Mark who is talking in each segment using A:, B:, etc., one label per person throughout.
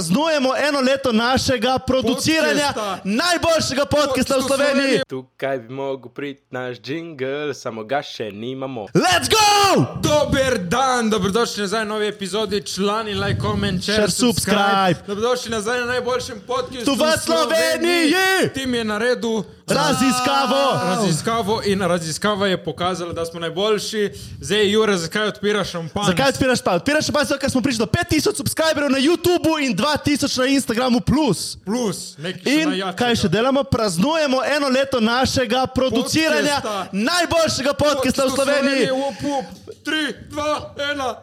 A: praznujemo eno leto našega produciranja
B: Podcasta.
A: najboljšega podcasta v Sloveniji.
C: Tukaj bi mogel priti naš jingle, samo ga še nimamo.
A: Let's go!
B: Dober dan, dobrodošli nazaj v novi epizodi, člani, like, comment, share,
A: Share, subscribe.
B: Dobrodošli nazaj na najboljšem podkastu
A: Tu v Sloveniji.
B: Tim je naredil
A: Raziskavo!
B: raziskavo in raziskava je pokazala, da smo najboljši. Zdaj, Jure, zakaj odpiraš šampanj?
A: Zakaj odpiraš pa? Odpiraš pa zato, ker smo prišli do 5000 subscriberjev na YouTubu in 2000 na Instagramu. Plus.
B: Plus, nekaj še
A: In
B: najjačega.
A: kaj še delamo? Praznujemo eno leto našega produciranja
B: Podcasta.
A: najboljšega podcasta v Sloveniji.
B: Upup, 3, 2, 1.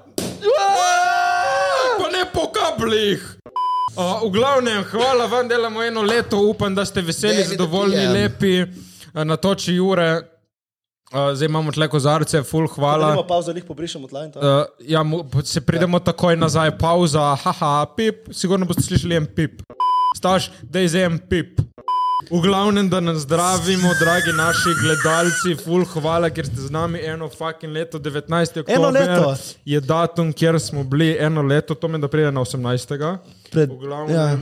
B: Pa ne po kablih. Uh, v glavnem, hvala vam, delamo eno leto, upam, da ste veseli,
D: Dajte, da
B: zadovoljni,
D: pijem.
B: lepi, uh, na toči ure. Uh, zdaj imamo tle kozarce, full hvala.
A: pauzo, jih pobrišemo tla in tam.
B: Uh, ja, mu, se pridemo takoj nazaj, pauza, haha, pip, sigurno boste slišali en pip. Staž, da je zdaj en pip. V glavnem, da nas zdravimo, dragi naši gledalci, full hvala, ker ste z nami eno fucking leto, 19.
A: Eno
B: oktober
A: leto.
B: je datum, kjer smo bili eno leto, to meni, da pride na 18.
A: Pred-
B: V glavnem,
A: ja.
B: ja.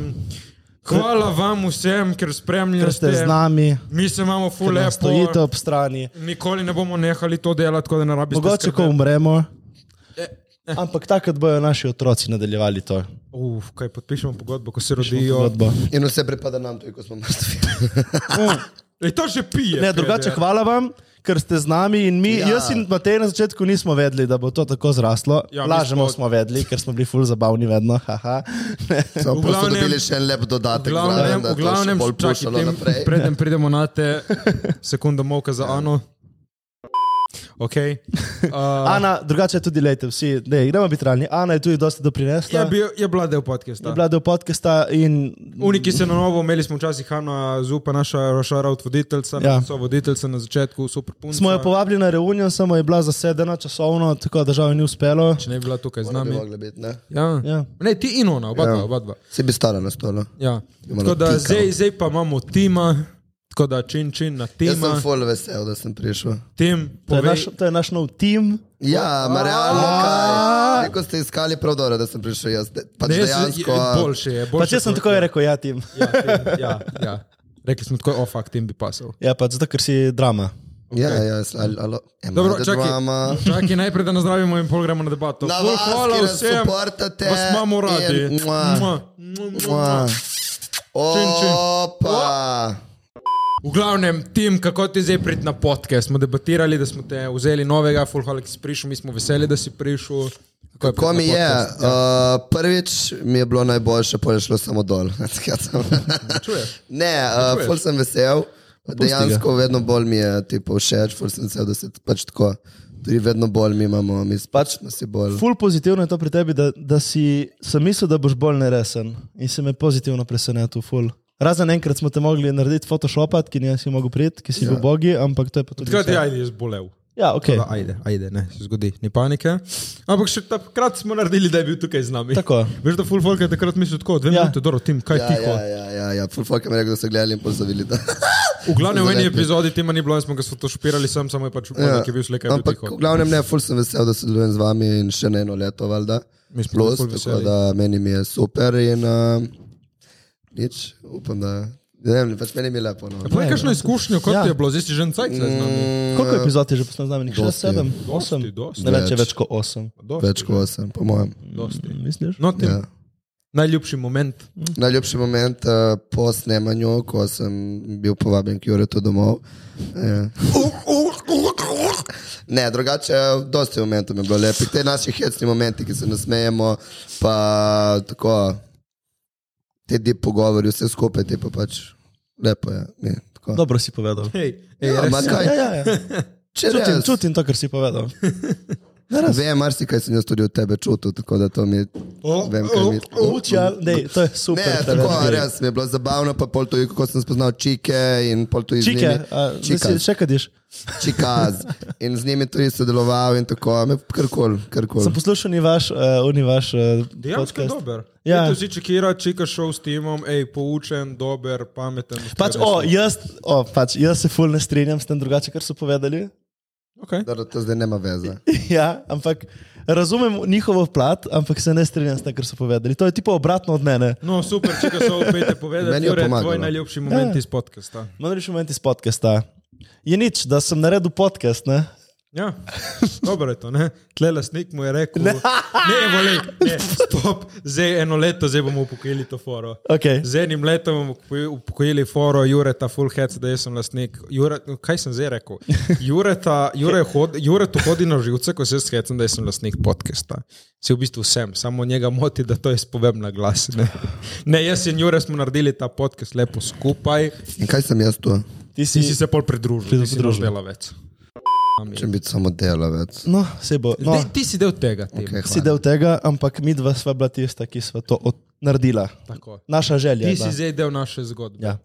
B: Hvala vam vsem, ker spremljate.
A: Ker ste z nami,
B: Mi se imamo full
A: da
B: lepo.
A: stojite ob strani.
B: Nikoli ne bomo nehali to delati, tako da ne rabite.
A: Mogoče, ko
B: skrbeti. E,
A: umremo. Ampak takrat bojo naši otroci nadaljevali to.
B: Uf, kaj podpišemo pogodbo, ko se rodijo.
A: Zgodbo.
D: In vse pripada nam, tudi ko smo mrtvi.
B: Ej, to že pije.
A: Ne, drugače,
B: peder.
A: hvala vam, ker ste z nami. in Mi, ja.
D: Ja.
A: Jaz in Matej na začetku nismo vedeli, da bo to tako zraslo.
B: Ja,
A: Ja,
B: mi
A: Lažemo
B: smo-
A: smo vedeli, ker smo bili ful zabavni vedno. haha.
D: Smo
B: glavnem-
D: prosto dobili še en lep dodatek,
B: V glavnem,
D: zraven,
B: v
D: da je to še
B: glavnem
D: bolj
B: čakaj,
D: pušalo
B: tem,
D: naprej.
B: preden pridemo na te sekunde moka za Ano.
D: Ja.
B: Ok. Uh,
A: Ana, drugače tudi lejte vsi, ne, gremo biti realni. Ana je tudi dosti doprinesla.
D: ja.
B: je, bil, ja, je bila del podcasta.
A: Je bila del podcasta in
B: Uni, ki se na novo, imeli smo včasih Hanna Zupa, naša šarot voditeljca,
A: Ja.
B: ja. so voditeljca na začetku, super punca.
A: smo jo povabili na reunijo, samo je bila zasedena časovno, tako da žal ji ni uspelo.
B: Če ne bi bila tukaj z
D: Ne bi
B: nami.
D: mogli biti, ne?
B: Ja.
A: Ja.
B: Ne, ti in ona, oba
D: Ja.
B: dva. Oba dva.
D: Vsi bi stala na no. stolo.
B: Ja.
D: Imamo no.
B: Tako da
D: tikalo.
B: zdaj, zdaj pa imamo tima, tako da čin čin na
D: Jaz sem
B: tima.
D: ful vesel, da sem prišel.
B: Tim,
A: To je,
B: povej-
A: naš, to je naš nov tim.
D: Ja, ma realno kaj. Ko ste iskali prav dobro, da sem prišel jaz. De- Pač
B: Ne, jaz-
D: dejansko.
B: je-
D: a-
B: Boljše je, boljše
A: Pa če sem
B: je.
A: tako je rekel, ja, tim.
B: Ja, tem, ja, ja. Rekli smo tako, ofak, tem bi pasal.
A: Ja, pa zato, ker si drama.
D: Ja, ja, sl- ali- alo. Ema,
B: Dobro,
D: da
B: čakaj,
D: drama.
B: čakaj, najprej da nazdravimo in pol gremo na debato.
D: Na
B: Ful
D: vas,
B: hvala
D: ki nas
B: vsem,
D: podportate
B: vas imamo radi.
D: in mua.
B: Mua, mua, mua.
D: Mua.
B: Čin, čin.
D: Opa.
B: V glavnem, tim, kako ti zdaj priti na podcast? Smo debatirali, da smo te vzeli novega, full hvala, ki si prišel, mi smo veseli, da si prišel. Kako je
D: Ko
B: priti
D: mi
B: na
D: je,
B: podcast? Ja.
D: uh, prvič mi je bilo najboljše, pa je šlo samo dol.
B: čuješ?
D: ne, uh, ful sem vesel. Dejansko vedno bolj mi je tipo, všeč, ful sem vesel, da se t- pač tako. Tudi vedno bolj mi imamo, mi pač smo si bolj.
A: Ful pozitivno je to pri tebi, da, da si sem mislil, da boš bolj neresen in si me pozitivno presenetil. Ful. Razen enkrat smo te mogli narediti photoshopat, ki nisi mogel priti, ki si ja. bil bogi, ampak to je pa tudi.
B: Takrat je
A: vse.
B: ajde zbolel.
A: ja, okay.
B: Da, ajde, ajde, ne, se zgodi, ni panike. Ampak še takrat smo naredili, da je bil tukaj z nami.
A: Tako.
B: Veš, da full folk je takrat mislil tako, dve
A: Ja.
B: ja. minute, dobro, tim, kaj ja,
D: Ja,
B: tiho.
D: ja,
B: Ja, ja.
D: ja, ja, ja. ful folk je rekel, da so gledali in pol so videli. da-
B: V glavnem v eni
D: Zaletni.
B: epizodi tema ni bilo in smo ga fotošopirali, sam samo je pač upal, ja. ki je bil slekaj.
D: Ampak, v glavnem, ne, ful sem vesel, da sodelujem z vami in še na eno leto, valjda.
B: Mi smo
D: Plus,
B: ful
D: tako
B: veseli.
D: da meni mi je super in uh, nič, upam, da. Ne vem, pač meni mi je lepo. No.
B: Povej, kakšno izkušnjo, kot
A: Ja.
B: ja. je bilo, zdaj si že en cajt zdaj z nami.
A: Koliko epizod je že posnel z nami? 6,
D: Dosti.
A: 7, 8?
B: Dosti, dosti.
A: Ne več, če
D: Več.
A: več kot 8.
B: Dosti,
D: Več kot sem, po mojem.
B: dosti.
A: Misliš?
B: No, tim, ja.
D: Ja.
B: najljubši moment.
D: Najljubši moment uh, po snemanju, ko sem bil povabljen k Juretu domov. Eh. Ne, drugače, dosti momentov mi je bilo lepih. Te naši hecni momenti, ki se nasmejemo, pa tako, te deep pogovori, vse skupaj, te pa pač lepo je. Ne, tako.
A: Dobro si povedal.
B: Hej, ej,
D: Ja, ma kaj,
A: Ja, ja, ja.
D: če
A: Čutim,
D: res,
A: čutim to, kar si povedal.
D: Vem, marsikaj sem jaz tudi od tebe čutil, tako da to mi je.
B: O,
D: Vem, kaj mi je.
A: Učal, ne, to je super.
D: Ne,
A: preveč
D: tako
A: gre.
D: res mi je bilo zabavno, pa pol to, kako sem spoznal čike in pol to iz
A: Čike,
D: njimi-
A: a, zdaj si
D: Čikaz,
A: še kadiš.
D: čikaz. In z njimi tudi sodeloval in tako, me karkoli, karkoli.
A: Sem poslušal ni vaš, uh, ni vaš uh,
B: Dejansko je
A: podcast.
B: dober.
A: Ja.
B: Ja. Tu si čekira, čika šel s timom, ej, poučen, dober, pameten.
A: Pač, o, jaz, o, pač, jaz se fulno strinjam s tem drugače, kar so povedali.
B: Okay.
D: Dobro, to zdaj nema veze.
A: Ja, ampak razumem njihov plat, ampak se ne strinjam s tem, kar so povedali. To je tipo obratno od mene.
B: No, super, če ga so opet povedali,
D: Meni je
B: to je tvoj
D: pomagalo.
B: najljubši moment iz podcasta.
A: Moram reči moment iz podcasta. Je nič, da sem naredil podcast, ne?
B: Ja, dobro je to. Ne? Tle lasnik mu je rekel, ne, ne, vole, ne stop, zdaj eno leto, zdaj bomo upokojili to foro.
A: Okay.
B: Z enim letom bomo upokoji- upokojili foro Jureta, full head, da jaz sem lastnik. Jure, kaj sem zdaj rekel? Jureta, Jure hod, Juretu hodi na živce, ko se skecam, da jaz sem lastnik podcasta. Se v bistvu sem, samo njega moti, da to jaz povem na glas. Ne, ne jaz in Jure smo naredili ta podcast lepo skupaj,
D: In kaj sem jaz tu?
A: Ti
B: ti si se pol pridružil, ti si naš
A: pridružil.
B: delavec.
D: Če bi samo delavec.
A: No, se bo. No,
B: No. Ti, ti si del tega. Tim.
D: Okay,
A: si del tega, ampak mi dva sva bila tista, ki sva to od- naredila.
B: Tako.
A: Naša želja.
B: Ti
A: je
B: si
A: bila.
B: zdaj del naše zgodbe.
A: Ja.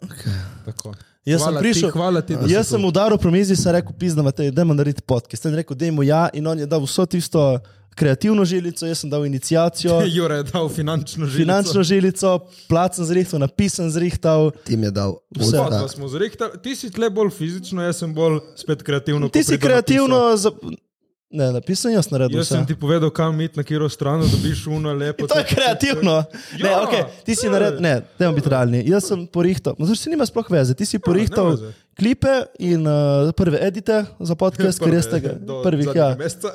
B: Tako.
A: Jaz sem
B: hvala
A: prišel,
B: Ti, hvala ti, da si
A: jaz
B: tu.
A: sem udaril po mizi in sem rekel, pizda, Matej, dajmo narediti podcast. Sem rekel, dajmo ja in on je dal vso tisto kreativno žilico, jaz sem dal inicijacijo,
B: Jure je dal finančno življenje.
A: finančno žilico, plat sem zrihtal, napis sem zrihtal.
D: Tim je dal
A: Vse.
B: Pa,
D: vse.
B: da smo zrihtali. Ti si tle bolj fizično, jaz sem bolj spet kreativno. ko
A: Ti si
B: pridem napisal.
A: kreativno, za... ne, napisal jaz naredil
B: Jaz sem
A: vse.
B: ti povedal, kam iti, na katero stran, da bi šel na lepo.
A: To je kreativno. Ne,
B: Ja.
A: okay, ti si naredil, ne, dajmo biti realni. Jaz sem porihtal, no, zdaj se nima sploh veze, ti si porihtal
B: Ja, veze.
A: klipe in uh, prve edite za podcast, ker jaz tega prvih, ja,
B: Mesta,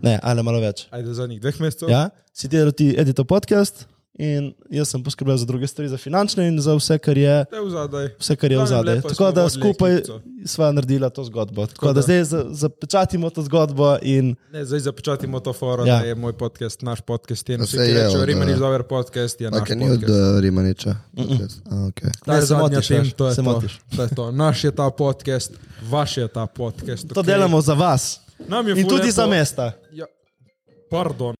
A: ne, ali malo več.
B: ajde, do zadnjih dveh mest.
A: Ja, si delal ti edito podcast in jaz sem poskrbel za druge stvari, za finančne in za vse, kar je.
B: Te v zadaj.
A: Vse, kar je v
B: Glavnem,
A: zadnjem.
B: lepo
A: Tako
B: smo
A: da
B: vodili
A: skupaj
B: ekipico.
A: sva naredila to zgodbo. Tako, Tako da,
B: da.
A: da zdaj za- zapečatimo to zgodbo in
B: Ne, zdaj zapečatimo to foro,
A: Ja.
B: ja. da je moj podcast, naš podcast. In
D: Pa
B: vsi, ki
D: saj je
B: rečejo,
D: od,
B: Riman je
D: eh,
B: dober podcast, je naš
D: Ampak ni od
B: podcast.
D: eh, Rimaniča. A, Okay.
B: Ta je
A: Ne, se
B: zadnja
A: motiš,
B: tem,
A: veš,
B: to je
A: se
B: to.
A: motiš.
B: to je to. Naš je ta podcast, vaš je ta podcast.
A: to
B: okej.
A: delamo za vas.
B: Nam je
A: In
B: ful
A: tudi
B: lepo.
A: za mesta.
B: Ja. Pardon.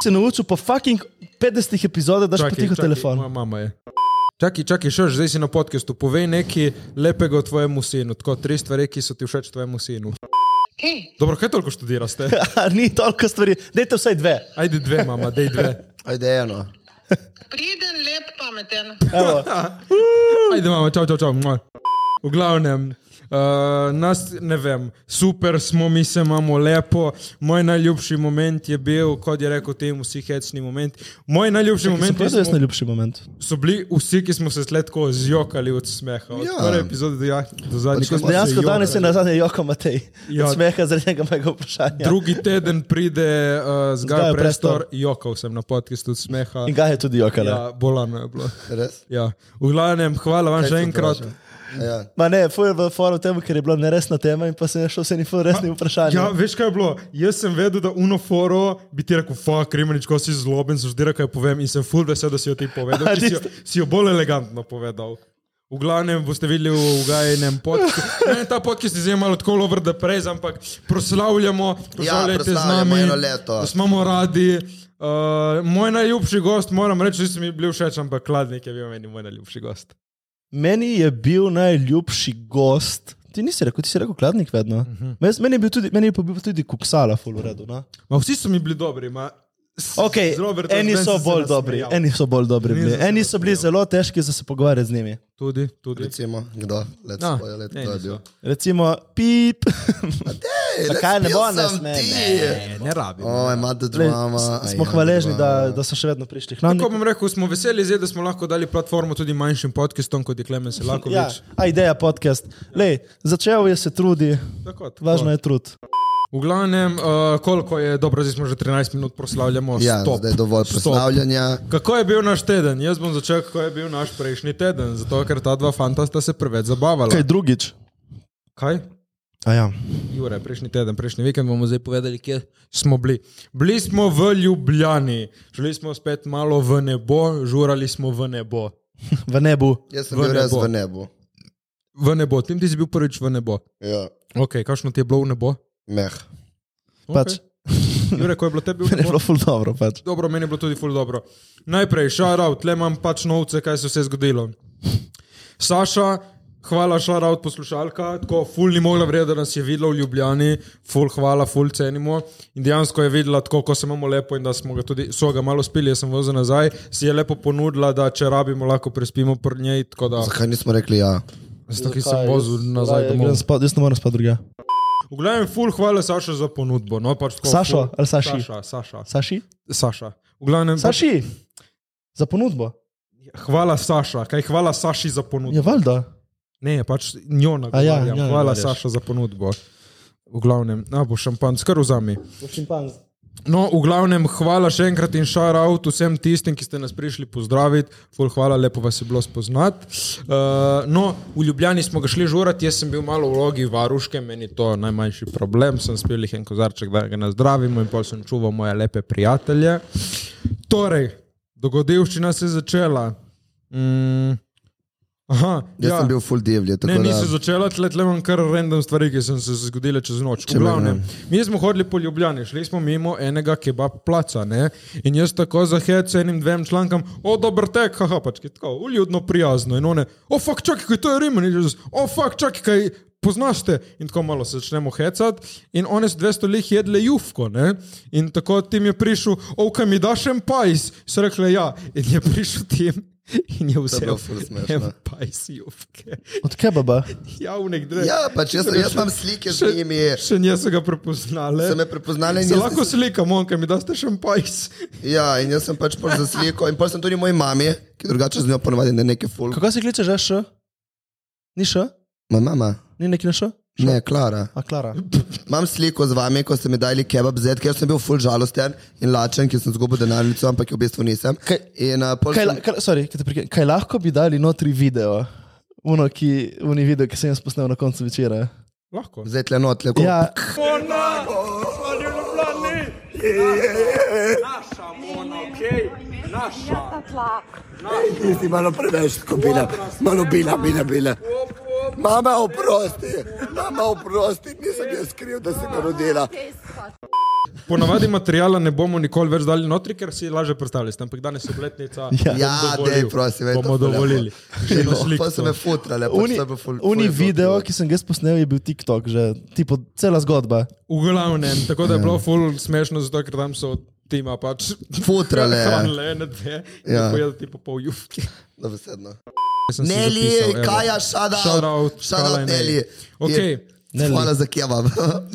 A: Se naučil po fucking 50 epizodah, daš
B: Čakaj,
A: potiho
B: čakaj,
A: telefon.
B: Moja mama je. Čakaj, čakaj, šoš, zdaj si na podkastu. Povej nekaj lepega o tvojemu sinu. Tako tri stvari, ki so ti všeč tvojemu sinu. Dobro, kaj toliko študiraš? te?
A: Ni toliko stvari, dajte vsaj dve.
B: Ajde dve, mama, dej dve.
D: Ajde eno.
E: Priden, lep, pameten.
A: Evo,
B: Ajde, mama, čau, čau, čau. mua. V glavnem, uh, nas ne vem, super smo, mi se imamo lepo. Moj najljubši moment je bil, kot je rekel, tem vsi hecni momenti. Moj najljubši
A: sem
B: moment
A: povedal, jaz
B: smo,
A: najljubši moment.
B: so bili vsi, ki smo se sled tako zjokali od smeha. Od
D: Ja.
B: ja. prve epizode do, ja, do zadnje.
D: Pač
B: ko smo se
A: Dejansko danes je
B: jokali.
A: na zadnje Joko Matej.
B: Ja.
A: Od smeha zaradi njega mojega vprašanja.
B: Drugi teden pride uh,
A: Ja. Gajo
B: zgolj
A: Prestor.
B: prestor, jokal sem na podkastu od smeha.
A: In ga je tudi jokala.
B: Ja, bolano je bilo.
D: Res?
B: Ja. V glavnem, hvala vam še enkrat.
D: Ja.
A: Ma ne, fuj v foru temu, ker je bila neresna tema in pa se je šel vse ni fuj resni vprašanje.
B: Ja, veš kaj je bilo? Jaz sem vedel, da unoforo bi ti rekel, fuck, Rimanič, ko si zloben, zdaj kaj povem in sem full vesel, da si jo ti povedal.
A: A,
B: ker Si jo,
A: tisto.
B: si jo bolj elegantno povedal. V glavnem boste videli v Gajnem podkastu. Meni ta podcast je zdaj malo tako over the praise, ampak proslavljamo,
A: Ja,
B: proslavljajte z
D: proslavljamo
B: nami.
D: eno leto.
B: Vas imamo radi. Uh, moj najljubši gost, moram reči, da si mi bil všeč, ampak kladnik je bil meni moj najljubši gost.
A: Meni je bil najljubši gost. Ti nisi rekel, ti si rekel kladnik vedno. Uh
B: Mhm.
A: -huh. Mes, meni, je bil tudi, meni je pa bil tudi kuksala full uredu. No?
B: Ma, vsi so mi bili dobri. Ma, s-
A: Okay,
B: z Robertom
A: eni so
B: Bensom se
A: bolj dobri,
B: nasmejal.
A: eni so bolj dobri.
B: Nisem
A: Bili.
B: se
A: Eni so bili
B: nasmejal.
A: zelo težki za se pogovarjati z njimi.
B: Tudi, tudi.
D: Recimo, kdo? Let's
B: No,
D: no, let,
B: ne,
D: to je
B: niso.
D: bil.
A: Recimo, pip. Zakaj ne
D: spil
A: bo nas
D: Ja, sem
A: ne?
D: ti.
A: ne.
B: Ne, ne rabim.
D: Oj, mata drama.
A: Smo hvaležni, da, da so še vedno prišli k nam.
B: Tako bom rekel, smo veseli, zdaj, da smo lahko dali platformo tudi manjšim podcastom, kot je Klemen Selakovič.
A: Ja, a ideja podcast. Lej, začel je se trudi,
B: Tako, tako.
A: važno je trud.
B: V glavnem, uh, koliko je, dobro, zdaj smo že 13 minut proslavljamo.
D: Ja,
B: Stop.
D: zdaj je dovolj
B: Stop.
D: proslavljanja.
B: Kako je bil naš teden? Jaz bom začel, kako je bil naš prejšnji teden, zato ker ta dva fanta sta se preveč zabavala.
A: Kaj drugič?
B: Kaj?
A: A ja.
B: Jure, prejšnji teden, prejšnji vikend bomo zdaj povedali, kje smo bili. Bili smo v Ljubljani, šli smo spet malo v nebo, žurali smo v nebo.
A: V nebu.
D: Jaz sem
B: V
D: bil res
B: nebo.
D: v nebu.
B: V nebo, tim ti si bil prvič v nebo.
D: Ja,
B: Ok, kakšno ti je bilo v nebo?
D: meh.
B: Okay.
A: Pač.
B: Jure, ko je bilo tebi v
A: Meni je
B: nebo?
A: bilo ful dobro. Pač.
B: Dobro, meni je bilo tudi ful dobro. Najprej, šarav, tle imam pač novce, kaj se je vse zgodilo. Saša, hvala, šarav, poslušalka, tako ful ni mogla vreda, da nas je videla v Ljubljani, ful hvala, ful cenimo. In dejansko je videla, tako ko se imamo lepo in da smo ga tudi, so ga malo spili, jaz sem vozil nazaj, si je lepo ponudila, da če rabimo, lahko prespimo pri njej, tako da,
D: Zakaj nismo rekli ja?
B: zato ki sem vozil
A: Jaz,
B: nazaj domov.
A: spad, jaz ne morem spati drugega.
B: V V glavnem, full hvala Saša za ponudbo. No, pač tako,
A: Sašo
B: ful-
A: ali Saši?
B: Saša, Saša.
A: Saši?
B: Saša. V glavnem, pač,
A: Saši! Za ponudbo.
B: hvala Saša, kaj hvala Saši za ponudbo.
A: Ja, valjda.
B: Ne, pač njo
A: A ja,
B: nagovarjam.
A: njo
B: Ja, Hvala,
A: nagovarjaš.
B: Saša, za ponudbo. V glavnem, a bo šampanc, kar vzami.
A: Šimpanz.
B: No, v glavnem, hvala še enkrat in šar out vsem tistim, ki ste nas prišli pozdraviti. Ful, hvala, lepo vas je bilo spoznati. Uh, no, v Ljubljani smo ga šli žurati, jaz sem bil malo v vlogi varuške, meni to najmanjši problem, sem spil jih en kozarček, da ga nazdravimo in pol sem čuval moje lepe prijatelje. Torej, dogodivščina se je začela. Mm, aha,
D: Jaz ja. sem bil full divlje, tako
B: Ne,
D: ne,
B: nisi
D: da...
B: začela, tle tle imam kar random stvari, ki sem se zgodile čez noč. V
D: Če me ja.
B: glavnem, mi smo hodili po Ljubljani, šli smo mimo enega kebab placa, ne? In jaz tako zahed s enim dvem člankam, o, dober tek, haha, pač ki tako, uljudno prijazno. In one, o, fakt, čakaj, kaj to je Rimen, in jaz, o, fakt, čakaj, kaj poznaš te. In tako malo se začnemo hecati. In one so 200 lih jedle jufko, ne? In tako tim je prišel, o, kaj mi daš en pajs? So rekli, ja. In je prišel tim. In je vzel
D: bilo ful smešno.
B: en pajs jufke.
A: Od kebaba.
B: Javnik dve.
D: Ja, pač jaz, jaz imam slike z njimi.
B: Še niso ga prepoznali.
D: So me prepoznali in
B: Se
D: jaz-
B: lahko slikam, onka mi daste šampajs.
D: Ja, in jaz sem pač pol za sliko in pol sem tudi moji mami, ki drugače z njo ponovadi ne neke full.
A: Kako se kliče že š? Ni š?
D: Ma mama,
A: Ni neki na š?
D: ne, Klara.
A: A Klara.
D: Imam sliko z vami, ko ste mi dali kebab zed, ker sem bil full žalosten in lačen, ker sem zgubil denarnico, ampak jo v bistvu nisem.
A: Kaj-
D: In, uh,
A: Kaj, la- kaj, sorry, kaj, prike, kaj lahko bi dali notri video? Uno, ki, uni video, ki sem jaz posnel na koncu večera.
B: Lahko.
D: Zdaj tle not, le ko.
A: Ja,
C: Naša mona, okej, naša.
F: Ti malo preveč skupina, malo bila, bila, bila. Mama, oprosti, mama, oprosti, nisem jaz kriv, da si ga rodila.
B: Ponavadi materijala ne bomo nikoli več dali notri, ker si lažje predstavljate, ampak danes je obletnica.
A: Ja.
D: Ja,
B: bom dovolil.
D: dej, prosim, veš,
B: Bomo
D: to ful je
B: dovolili.
D: bilo.
B: Že na
D: No,
B: sliko.
D: Pa so me futrale, pa
A: uni,
D: so me full.
A: uni
D: ful je bilo
A: video,
D: krivo.
A: ki sem ga jaz posnel, je bil TikTok že, tipo cela zgodba.
B: V glavnem, tako
D: Ja.
B: da je bilo ful smešno, zato ker tam so od tima pač.
D: Futrale, ja.
B: Hranile ene dve.
D: Ja.
B: Ja. Pojedati po pol jufke.
D: Dobesedno.
B: Jaz sem si
D: Neli,
B: zapisal, evo.
D: Kaja, šada.
B: Shout out, Kala in Neli.
D: Neli.
B: Okej.
D: Je- Hvala za kebab.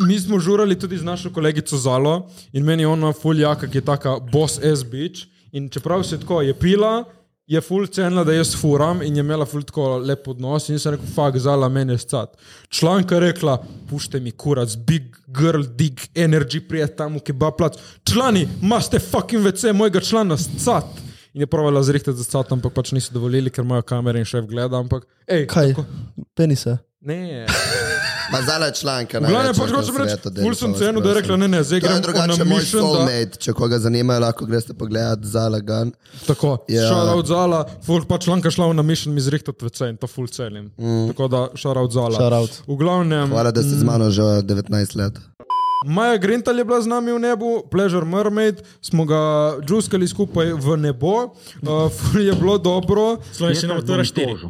B: mi smo žurali tudi z našo kolegico Zalo in meni je ona fuljaka, ki je taka boss ass bitch. In čeprav se tako je pila, je fulj cenila, da jaz furam in je imela fulj tako lep odnos in sem rekel, fuck, Zala, meni je stat. Članka je rekla, pušte mi kurac, big girl, dig energy, prijet tam v kebab plac. Člani, maste fucking vece mojega člana stat. In je pravila zrihtati za stat, ampak pač niso dovolili, ker imajo kamere in šef gleda, ampak, hej,
A: Kaj? Penisa.
B: Ne.
D: Ma zala članka.
B: Glavno,
D: največja
B: pač
D: na
B: hočem reči,
D: svetu, dej,
B: bolj sem
D: pa vas
B: cenu, da je
D: prosim.
B: rekla, ne, ne, zdaj
D: To je
B: grem
D: drugače
B: na
D: moj
B: mission, da
D: soulmate, če koga zanimajo, lahko greste pogledat za lagan.
B: Tako,
D: Ja.
B: yeah. šarav zala, ful pa članka šla na mission mi zrihtat vece in to ful celim. Mm. Tako da šarav zala.
A: Shout out.
B: V glavnem,
D: Hvala, da
B: Mm.
D: ste z mano že 19 let.
B: Maja Grintal je bila z nami v nebu, Pleasure Mermaid, smo ga džuskali skupaj v nebo, uh, ful je bilo dobro.
G: Slovenščina matura 4.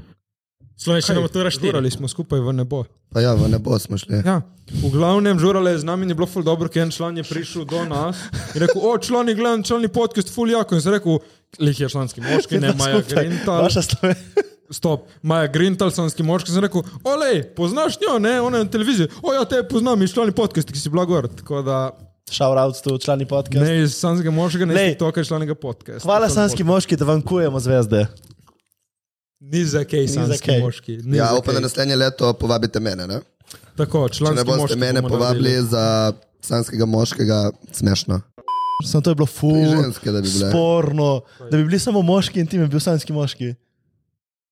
G: Slovenščina matura 4.
B: Žurali smo skupaj v nebo.
D: Pa ja, v nebo smo šli.
B: Ja, v glavnem, žurale je z nami in je bilo ful dobro, ker en član je prišel do nas in rekel, o, člani, gledam, člani podcast, ful jako. In sem rekel, lih je članski moški, ne Maja Grintal.
A: Vaša slove.
B: stop, Maja Grintal, sanski moški, sem rekel, olej, poznaš njo, ne, ona je na televiziji, oja, te poznam, iz člani podcast, ki si bila gor, tako da
A: Shout out tu, člani podcast.
B: ne iz sanskega moškega, ne
A: Lej.
B: iz tega članega podcasta.
A: Hvala sanski moški, da vam kujemo zvezde.
B: Ni za kaj, sanski
A: kaj.
B: moški. Ni
D: Ja,
B: za
D: upam, da
B: kaj.
D: naslednje leto povabite mene. Ne,
B: Tako,
D: Če
B: članski
D: ne boste
B: moški
D: mene
B: bomo naredili.
D: povabili za sanskega moškega, smešno.
A: Samo to je bilo ful,
D: Tudi ženske, da bi bile.
A: sporno, da bi bili samo moški in ti bi bil sanski moški.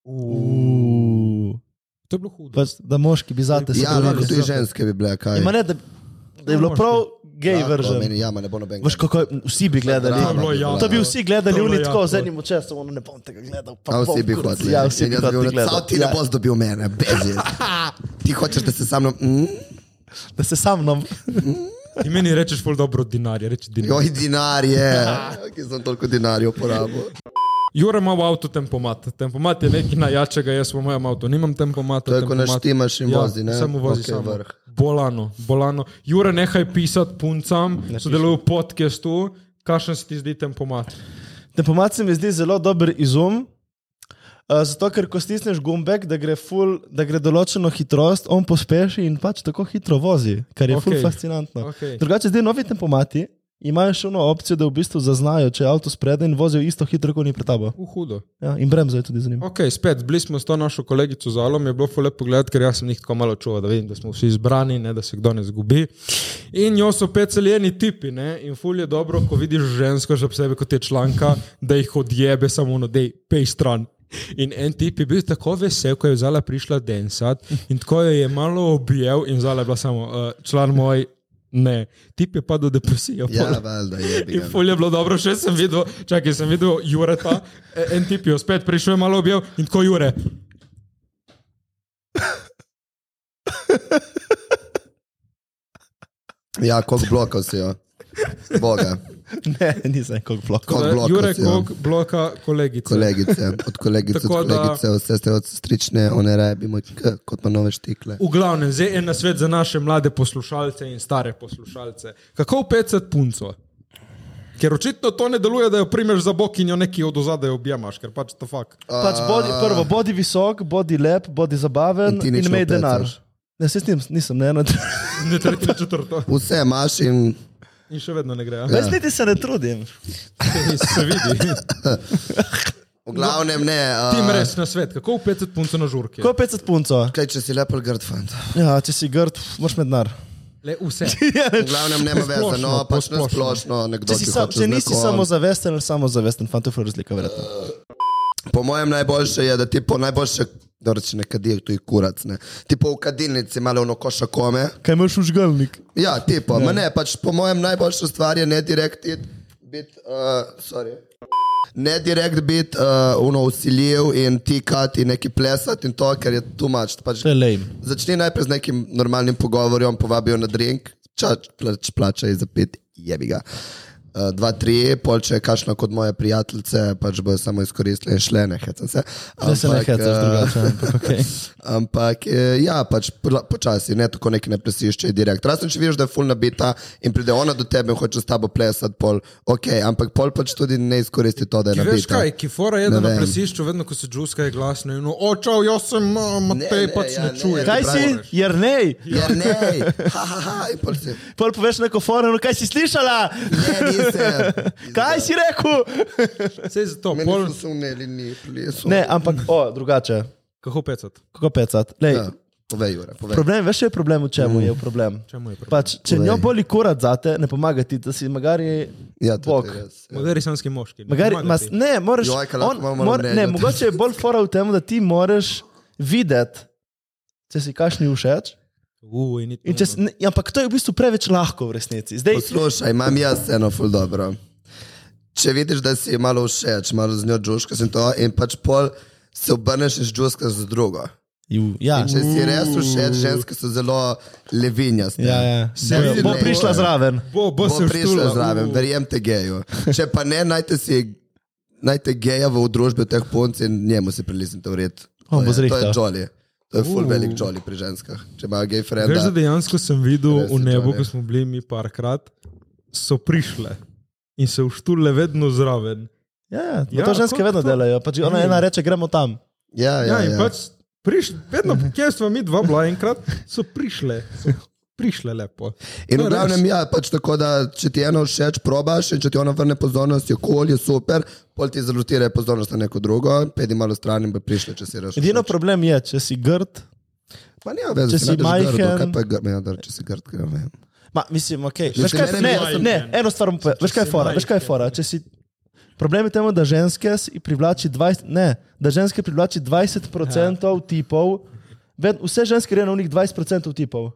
A: Uuu.
B: To je bilo hudo.
A: Pač, da moški bi zate
D: Ja,
A: bili.
D: ampak tudi ženske bi bile, kaj.
A: Ima ne, da, da je bilo prav gej
D: Ja, to
A: veržen.
D: meni, Ja, ma ne bo nobenega.
A: Veš, kako je, vsi bi gledali.
D: Drama
B: Ja, bilo
D: bi bila.
B: javno.
A: To bi vsi gledali,
B: To je bilo
A: oni tako
B: jako.
A: z enim očesom, ono ne bom tega gledal. Pa
D: A
A: bom,
D: vsi bi
A: kurac.
D: hodili.
A: Ja, vsi bi hoteli
D: Samo
A: gledati.
D: ti ne
A: Ja,
D: boš dobil mene, bezi. Ti hočeš, da se sam... Mm?
A: da se sam nam.
B: In meni rečeš ful dobro dinarje, reči dinarje.
D: Joj, dinar je. Ki sem toliko dinarjev porabil.
B: Jure ima v avtu tempomat, tempomat je nekaj najjačega, jaz v mojem avtu nimam tempomata.
D: To je, ko
B: tempomat-
D: naštimaš in vozi, ne?
B: Ja, Samo vozi
D: Okej,
B: okay, samo.
D: vrh.
B: Bolano, bolano. Jure, nehaj pisati puncam, sodeluj v podkastu, kakšen se ti zdi tempomat.
A: Tempomat se mi zdi zelo dober izum. Uh, zato, ker ko stisneš gumbek, da gre, full, da gre določeno hitrost, on pospeši in pač tako hitro vozi, kar je okay. full
B: Okej.
A: fascinantno.
B: Okej.
A: Drugače, zdaj novi tempomati imajo še eno opcijo, da v bistvu zaznajo, če je avto spredaj in vozijo isto hitro, kot ni pred tabo.
B: Uh, hudo.
A: Ja, in bremzajo tudi z njim.
B: Ok, spet, bili smo s to našo kolegico Zalom, je bilo ful lepo gledati, ker jaz sem jih tako malo čuval, da vidim, da smo vsi izbrani, ne, da se kdo ne zgubi. In jo so pet celjeni tipi, ne, in ful je dobro, ko vidiš žensko, še posebej kot je članka, da jih odjebe samo ono, dej, pej stran. In en tip je bil tako vesel, ko je Zala prišla densat in tako jo je malo objel in Zala je bila samo uh, član moj, ne, tip je pa do depresije. pol.
D: Ja, valjda je.
B: In ful je bilo dobro, še sem videl, čakaj, sem videl Jureta, e- en tip je spet prišel, je malo objel in tako Jure.
D: Ja, koliko blokov si jo. Boga,
A: Ne, nisem kot blok.
D: Kot
B: Da,
D: bloka
B: E, Jure,
D: si, ja.
B: kog bloka kolegice.
D: kolegice, od kolegice,
B: Tako
D: od
B: da-
D: kolegice, od sestre, od sestrične, one raje bi moj k, kot pa nove štikle.
B: V glavnem, zdaj en nasvet za naše mlade poslušalce in stare poslušalce. Kako upecati punco? Ker očitno to ne deluje, da jo primeš za bok in jo nekje od ozadja objemaš, ker pač to fakt.
A: Pač bodi, prvo, bodi visok, bodi lep, bodi zabaven
D: In ti
A: in,
D: nič
A: in
D: ne
A: imej denar.
D: opecaš.
A: Ne, se s tem nisem, ne, no, ne.
B: Ne tretji, ne četrto.
D: Vse imaš in
B: In še vedno ne gre. a?
D: Ja.
A: Veš, niti se ne trudim.
B: Se vidi.
D: v glavnem ne. a,
B: Tim res nasvet, kako upecati punco na žurki.
A: Ko je 50 punco,
D: Kaj, če si lepo grd fant.
A: ja, če si grd, pf, moraš med denar.
B: Le vse.
A: Ja,
D: V glavnem nema
B: Splošno,
D: veze, no pač
B: posplošno.
D: na splošno nekdo.
A: Če, si
D: ki
A: sa,
D: hoče
A: če
D: z
A: nisi
D: nekom-
A: samozavesten ali samozavesten, fant, to je ful razlika, verjetno.
D: Po mojem najboljše je, da ti po najboljše, da reče ne kadir, tu je kurac. Ne. Ti po v kadilnici malo ono koša kome.
A: Kaj imaš užgalnik?
D: Ja, ti pa, ne. ne, pač po mojem najboljša stvar je ne direkt it, bit, uh, sorry. Ne direkt biti uh, uno usiljiv in tikati in neki plesati in to, ker je tu mač. Pač,
A: To je lame.
D: začni najprej z nekim normalnim pogovorom, povabijo na drink, čač, plač, plačaj za pet, jebi ga. Uh, dva, tri, pol če je kašna kot moje prijateljice, pač bojo samo izkoristili in šle, ne hecam se.
A: Zdaj se ne
D: Ampak,
A: hecaš
D: eh,
A: drugače. ampak okej.
D: Ampak eh, ja, pač pla- počasi, ne tako neki ne presišče direkt. Razen če vidiš, da je full nabita in pride ona do tebe in hoče s tabo plesati, pol ok, ampak pol pač tudi ne izkoristi to, da je
B: Ki veš
D: nabita.
B: kaj, ki fora je,
D: Ne
B: da na
D: vem.
B: plesišču vedno, ko se džuska je glasno in očal, jaz sem a, Matej,
D: Ne, ne,
B: pač
D: ja,
B: ne
D: ne,
B: čujem.
A: Kaj si? Jer nej!
D: Ja, ne, ha, ha, ha, in pol si.
A: Pol poveš neko foreno, kaj si slišala?
D: Ne, nisem.
A: Kaj si rekel?
B: Sej zato,
D: Meni
B: pol,
D: so se uneli, ni plesu.
A: Ne, ampak o, drugače.
B: kako pecat?
A: Kako pecat? Lej,
D: Ja, Mm. povej, Jure, povej.
A: Problem, veš, je problem, v čemu je problem.
B: Čemu je problem?
A: Pač, če
D: Povej.
A: njo boli kurat zate, ne pomaga ti, da si magari
D: Ja,
A: bog.
D: to je res. ja.
B: Magari sanski moški. ne
A: Magari,
B: pomaga
A: mas,
B: ti.
A: ne, moraš,
D: Joj, kaj lahko imamo malo mnenja
A: ne,
D: o tem.
A: mogoče je bolj fora v tem, da ti moraš videti, če si kašni všeč.
B: U, in ni no.
A: In Če, s- ne, ampak to je v bistvu preveč lahko v resnici. Zdaj,
D: Poslušaj, imam jaz eno ful dobro. Če vidiš, da si ji malo všeč, malo z njo džuškaš in to, in pač pol se obrneš in džuškaš z drugo.
A: Ju, ja,
D: In če si res všeč, ženske so zelo levinjaste.
A: ja, ja.
D: Se
A: Bo-
D: vidi,
A: bo
D: ne.
A: prišla zraven.
B: Bo, bo,
D: Bo
B: se
D: prišla
B: prišla
D: zraven, verjem te geju. Če pa ne, najte si. Najte geja v družbi teh punc in njemu se priliznite v red. To
A: On bo
D: je- To je
A: zrihtal.
D: jolly. To je full velik jolly pri ženskah. Če imajo gej
B: Veš, da
D: frenda.
B: dejansko sem videl
D: Res je
B: v nebu,
D: to, ne.
B: ko smo bili mi parkrat, so prišle in se uštule vedno zraven.
A: Ja, ja,
B: Ja,
A: to ženske
B: kako
A: vedno
B: to?
A: delajo. Pač ona ena reče, gremo tam.
D: Ja,
B: Ja,
D: ja,
B: in
D: ja.
B: pač prišle, vedno, kjer smo mi dva bila enkrat, so prišle, so prišle lepo.
D: In
B: To je res.
D: v glavnem, ja, pač tako, da če ti eno všeč, probaš in če ti ona vrne pozornost, je kol, je super, pol ti zalutira pozornost na neko drugo, pedi malo stran in bi prišla, če si rešil.
A: Edino problem je, če si grd.
D: pa ne, veš,
A: če si majhen-
D: Kaj pa je grdo, ja, da, če si grd, kaj ne.
A: Ma, mislim, okay.
D: Mislim,
A: veš, kaj,
D: mene
A: ne,
D: bi-
A: ne, eno stvar bom povedal. Veš kaj je fora? Veš kaj je fora? Če si, problem je temu, da ženske si privlači 20, ne, da ženske privlači 20% ja. tipov. Ved, vse ženske grejo na unih 20% tipov.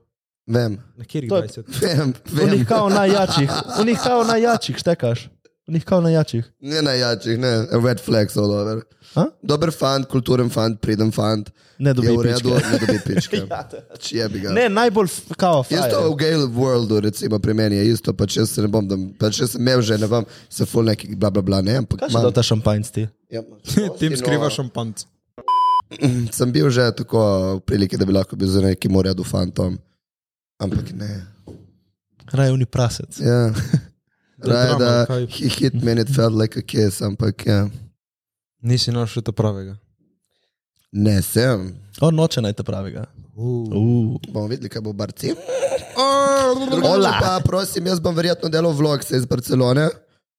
D: Vem,
B: Na kjer
A: To je-
B: 20?
D: vem, vem.
A: Unih kao najjačih, unih kao najjačih, štekaš. Unih kao najjačih.
D: Ne najjačih, ne, red flags all over.
A: A?
D: Dober fant, kulturen fant, priden fant.
A: Ne dobi
D: je v redu,
A: pičke. Ja,
D: ne dobi pičke. Če bi ga.
A: pač- Ne, najbolj f- kao.
D: Ja. Jaz to
A: frajer.
D: v Gale Worldu, recimo, pri meni je isto, pač jaz se ne bom, da, pač jaz sem imel že, ne vem, se ful neki bla bla bla, ne, ampak
A: Kaj še
D: imam-
A: do ta šampanjci?
D: Ja,
B: Tim
D: no,
B: skriva šampanc.
D: Sem bil že tako v priliki, da bi lahko bil z nekim v redu fantom, ampak ne.
A: Raje uni prasec.
D: Ja. Raje
B: drama,
D: da
B: kaj?
D: he hit me and it felt like a kiss, ampak ja.
B: Nisi našel ta pravega.
D: Ne, sem.
A: On noče najti pravega. Uh.
D: Bomo videli, kaj bo v Barci. Drugače pa, prosim, jaz bom verjetno delal vlog se iz Barcelone.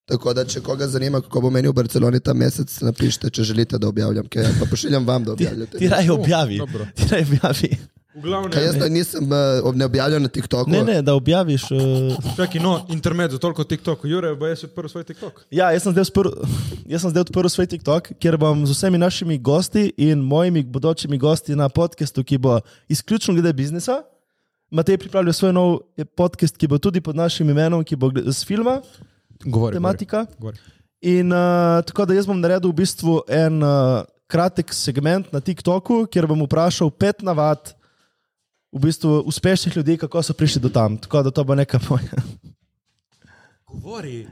D: Tako da, če koga zanima, kako bo meni v Barceloni ta mesec, napišite, če želite, da objavljam. Kaj, pa pošiljam vam, da
A: Ti,
D: objavljate.
A: ti raje objavi.
B: dobro.
A: Ti raje objavi.
B: V glavnem,
D: Kaj, jaz to nisem eh, ob- ne objavljal na TikToku.
A: Ne, ne, da objaviš. Uh...
B: čakaj, no, intermezzo, toliko TikTok, Jure, bo jaz odprl svoj TikTok.
A: Ja, jaz sem zdaj odprl- jaz sem zdaj odprl svoj TikTok, kjer bom z vsemi našimi gosti in mojimi bodočimi gosti na podkastu, ki bo izključno glede biznisa. Matej pripravlja svoj nov eh, podcast, ki bo tudi pod našim imenom, ki bo gle- s filma,
B: Govori.
A: tematika.
B: govori.
A: In uh, tako da jaz bom naredil v bistvu en uh, kratek segment na TikToku, kjer bom vprašal pet navad v bistvu uspešnih ljudi, kako so prišli do tam. Tako da to bo neka moja.
B: Govori.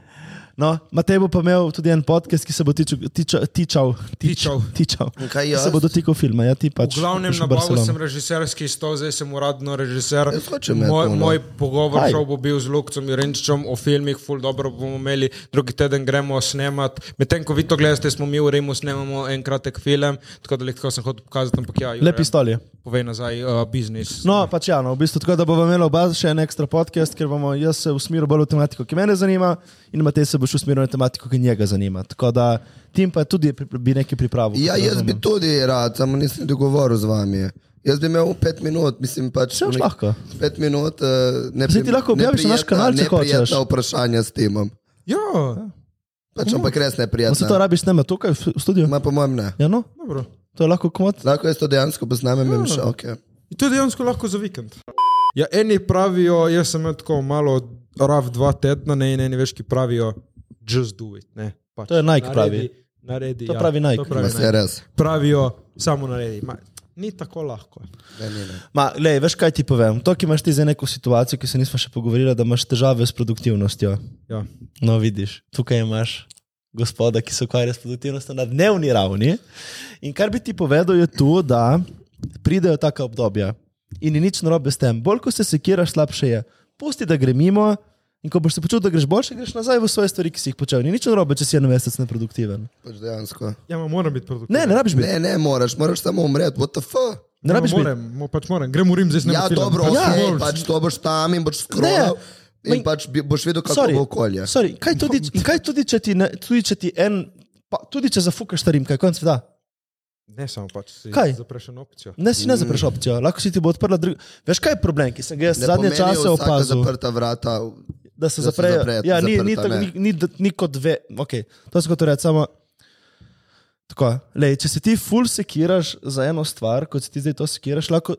A: No, Matej bo pa imel tudi en podcast, ki se bo tičal, tičal, tičal,
B: Tičal.
A: tičal.
D: In kaj
A: Ki
D: jaz?
A: se bo dotikal filma. Ja, ti pač
B: V glavnem,
A: boš v
B: na bavu
A: Barcelono.
B: sem režiserski stol, zdaj sem uradno režiser.
D: Jaz hočem
B: Moj,
D: imeti ono.
B: moj pogovor
A: Kaj?
B: šel bo bil z Lukcem Jurenčičem o filmih, ful dobro bomo imeli, drugi teden gremo snemat. Medtem, ko vi to gledate, smo mi v Rimu snemamo en kratek film, tako da lahko sem hotel pokazati, ampak ja, Jure,
A: Lep pistol je.
B: Povej nazaj, uh, biznis.
A: No, pač ja, no, v bistvu tako, da bomo imeli oba še en ekstra podcast, ker bomo jaz se usmeril bolj v tematiko, ki mene zanima, in Matej se boš usmeril na tematiko, ki njega zanima. Tako da tim pa tudi pri- bi nekaj pripravil.
D: Ja,
A: kot
D: jaz bi
A: razumem.
D: tudi rad, samo nisem dogovoril z vami. Jaz bi imel pet minut, mislim pač.
A: Saj boš
D: nek-
A: lahko.
D: Pet minut. eh, Nepri,
A: Saj ti lahko objaviš na naš kanal, če hočeš.
D: Neprijetna vprašanja s temom.
B: Ja,
D: Pač ampak res
A: A Se to
D: neprijetna.
A: rabiš snema tukaj v v studiu?
D: Ma po mojem ne.
A: Ja, no,
B: dobro.
A: to je lahko komod.
D: Lahko jaz to dejansko posnamem
A: Ah.
D: in še ok.
B: In to je dejansko lahko za vikend. Ja, eni pravijo, jaz sem imel tako malo rav dva tedna, ne, in eni več, ki pravijo, just do it. Ne, pač.
A: To je Nike pravi.
B: Naredi,
A: To
B: ja,
A: pravi Nike.
B: To pravi
D: Ma se
B: Nike.
D: res.
B: Pravijo, samo naredi. Ma, ni tako lahko.
D: Ne, ne, ne.
A: Ma, lej, veš kaj ti povem? To, ki imaš ti za neko situacijo, ki se nismo še pogovorili, da imaš težave s produktivnostjo.
B: Ja.
A: No, vidiš, tukaj imaš gospoda, ki se ukvarja s produktivnostjo na dnevni ravni. In kar bi ti povedal, je to, da pridejo taka obdobja in ni nič narobe s tem. Bolj ko se sekiraš, slabše je. Pusti, da gre mimo. In ko boš se počutil, da greš boljše, greš nazaj v svoje stvari, ki si jih počel. Ni nič narobe, če si en mesec neproduktiven.
D: Pač dejansko.
B: Ja, ma, moram biti produktiven. Ja,
A: Ne, ne rabiš biti.
D: Ne, ne moraš, moraš samo umreti. What the fuck?
A: Ne
B: ma,
A: rabiš biti.
B: moram, mo, pač moram. Grem v Rim, zdaj ne
D: Ja, dobro,
B: pač
D: ja, okay,
B: moraš.
D: pač to boš tam in boš skrolal.
A: Ne.
D: In
A: Ma-
D: pač bi- boš videl, kako
A: Sorry,
D: bo okolje.
A: Sorry, kaj tudi, in kaj tudi, če ti, ne, tudi, če ti en, pa, tudi če zafukaš starim, kaj konc sveta?
B: Ne, samo pač. si
A: Kaj?
B: Zaprašen opcijo.
A: Ne, si ne
D: Mm.
A: zapreš opcijo, lahko si ti bo odprla druga. Veš, kaj je problem, ki sem ga jaz
D: Ne
A: zadnje
D: pomenijo
A: čase
D: vsaka
A: opazil?
D: Zaprta vrata.
A: da se
D: Da se
A: zaprejo.
D: zapre-
A: Ja, ni, ni,
D: zaprta,
A: tako,
D: ne.
A: ni, ni, ni kot dve. Okay. To se kot reče samo. Tako, lej, če se ti ful sekiraš za eno stvar, kot se ti zdaj to sekiraš, lahko,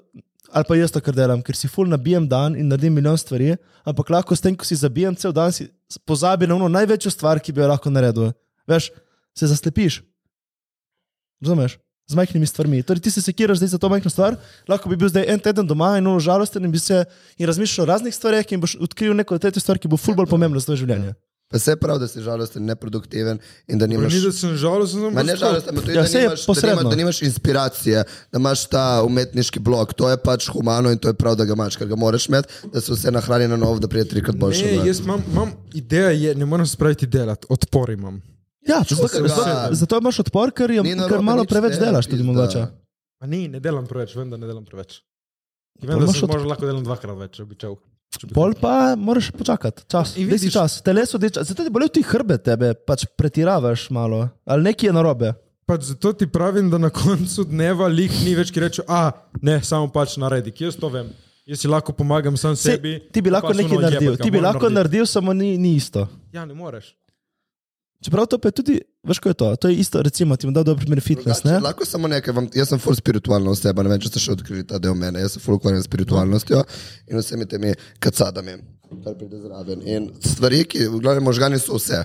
A: ali pa jaz to kar delam, ker si ful nabijem dan in naredim milijon stvari, ampak lahko s tem, ko si zabijem cel dan, si pozabi na ono največjo stvar, ki bi jo lahko naredil. Veš, se zaslepiš. Razumeš? Z majhnimi stvarmi. Torej, ti se sekiraš zdaj za to majhno stvar, lahko bi bil zdaj en teden doma in ono žalosten in bi se in razmišljal o raznih stvareh in boš odkril neko tretjo stvar, ki bo ful bolj pomembna za tvoje življenje.
D: Pa se pravi, da si žalosten, neproduktiven in da nimaš.
B: Ni, da sem žalosten,
D: Ma
B: ampak
D: ne žalosten, ampak to je,
A: Ja,
D: da,
A: saj je
D: nimaš, da,
A: posredno.
D: nimaš, da nimaš inspiracije, da imaš ta umetniški blok. To je pač humano in to je prav, da ga imaš, ker ga moraš imeti, da se vse nahrani na novo, da pride trikrat boljše.
B: Ne,
D: ven.
B: jaz imam, imam idejo, je, ne moram se spraviti delati, odpor imam.
A: Ja, zato,
D: se da.
A: zato, zato imaš odpor, ker, je,
D: Ni narobe
A: ker malo
D: nič
A: preveč
D: delati,
A: delaš, tudi
D: pizda.
A: mogoče.
B: A ni, ne delam preveč, vem, da ne delam preveč. In
A: Pol
B: Vem, da
A: imaš
B: se
A: od-
B: od... lahko delam dvakrat več, če bi čel. Če bi
A: Pol pa moraš počakati, čas.
B: In
A: Daj si
B: vidiš-
A: čas, telesu deč, zato ti bolijo ti hrbet, tebe pač pretiravaš malo, ali nekaj je narobe.
B: Pač zato ti pravim, da na koncu dneva lih ni več, ki reče, a ne, samo pač naredi, ki jaz to vem. Jaz si lahko pomagam sam
A: Se,
B: sebi.
A: ti bi
B: pa
A: lahko
B: pač
A: nekaj
B: ono,
A: naredil,
B: jebet ga,
A: ti bi
B: moram
A: lahko
B: narediti.
A: naredil, samo ni, ni isto.
B: Ja, ne moreš.
A: Čeprav to pa je tudi, veš, kaj je to. To je isto, recimo, ti bom dal dober primer fitness.
D: Drugače,
A: Ne?
D: Lahko samo nekaj, vam, jaz sem full spiritualna oseba, ne vem, če ste še odkrili ta del mene. Jaz se full ukvarjam s spiritualnostjo in vsemi temi kacadami, kar pride zraven. In stvari, ki, v glavnem, možgani so vse.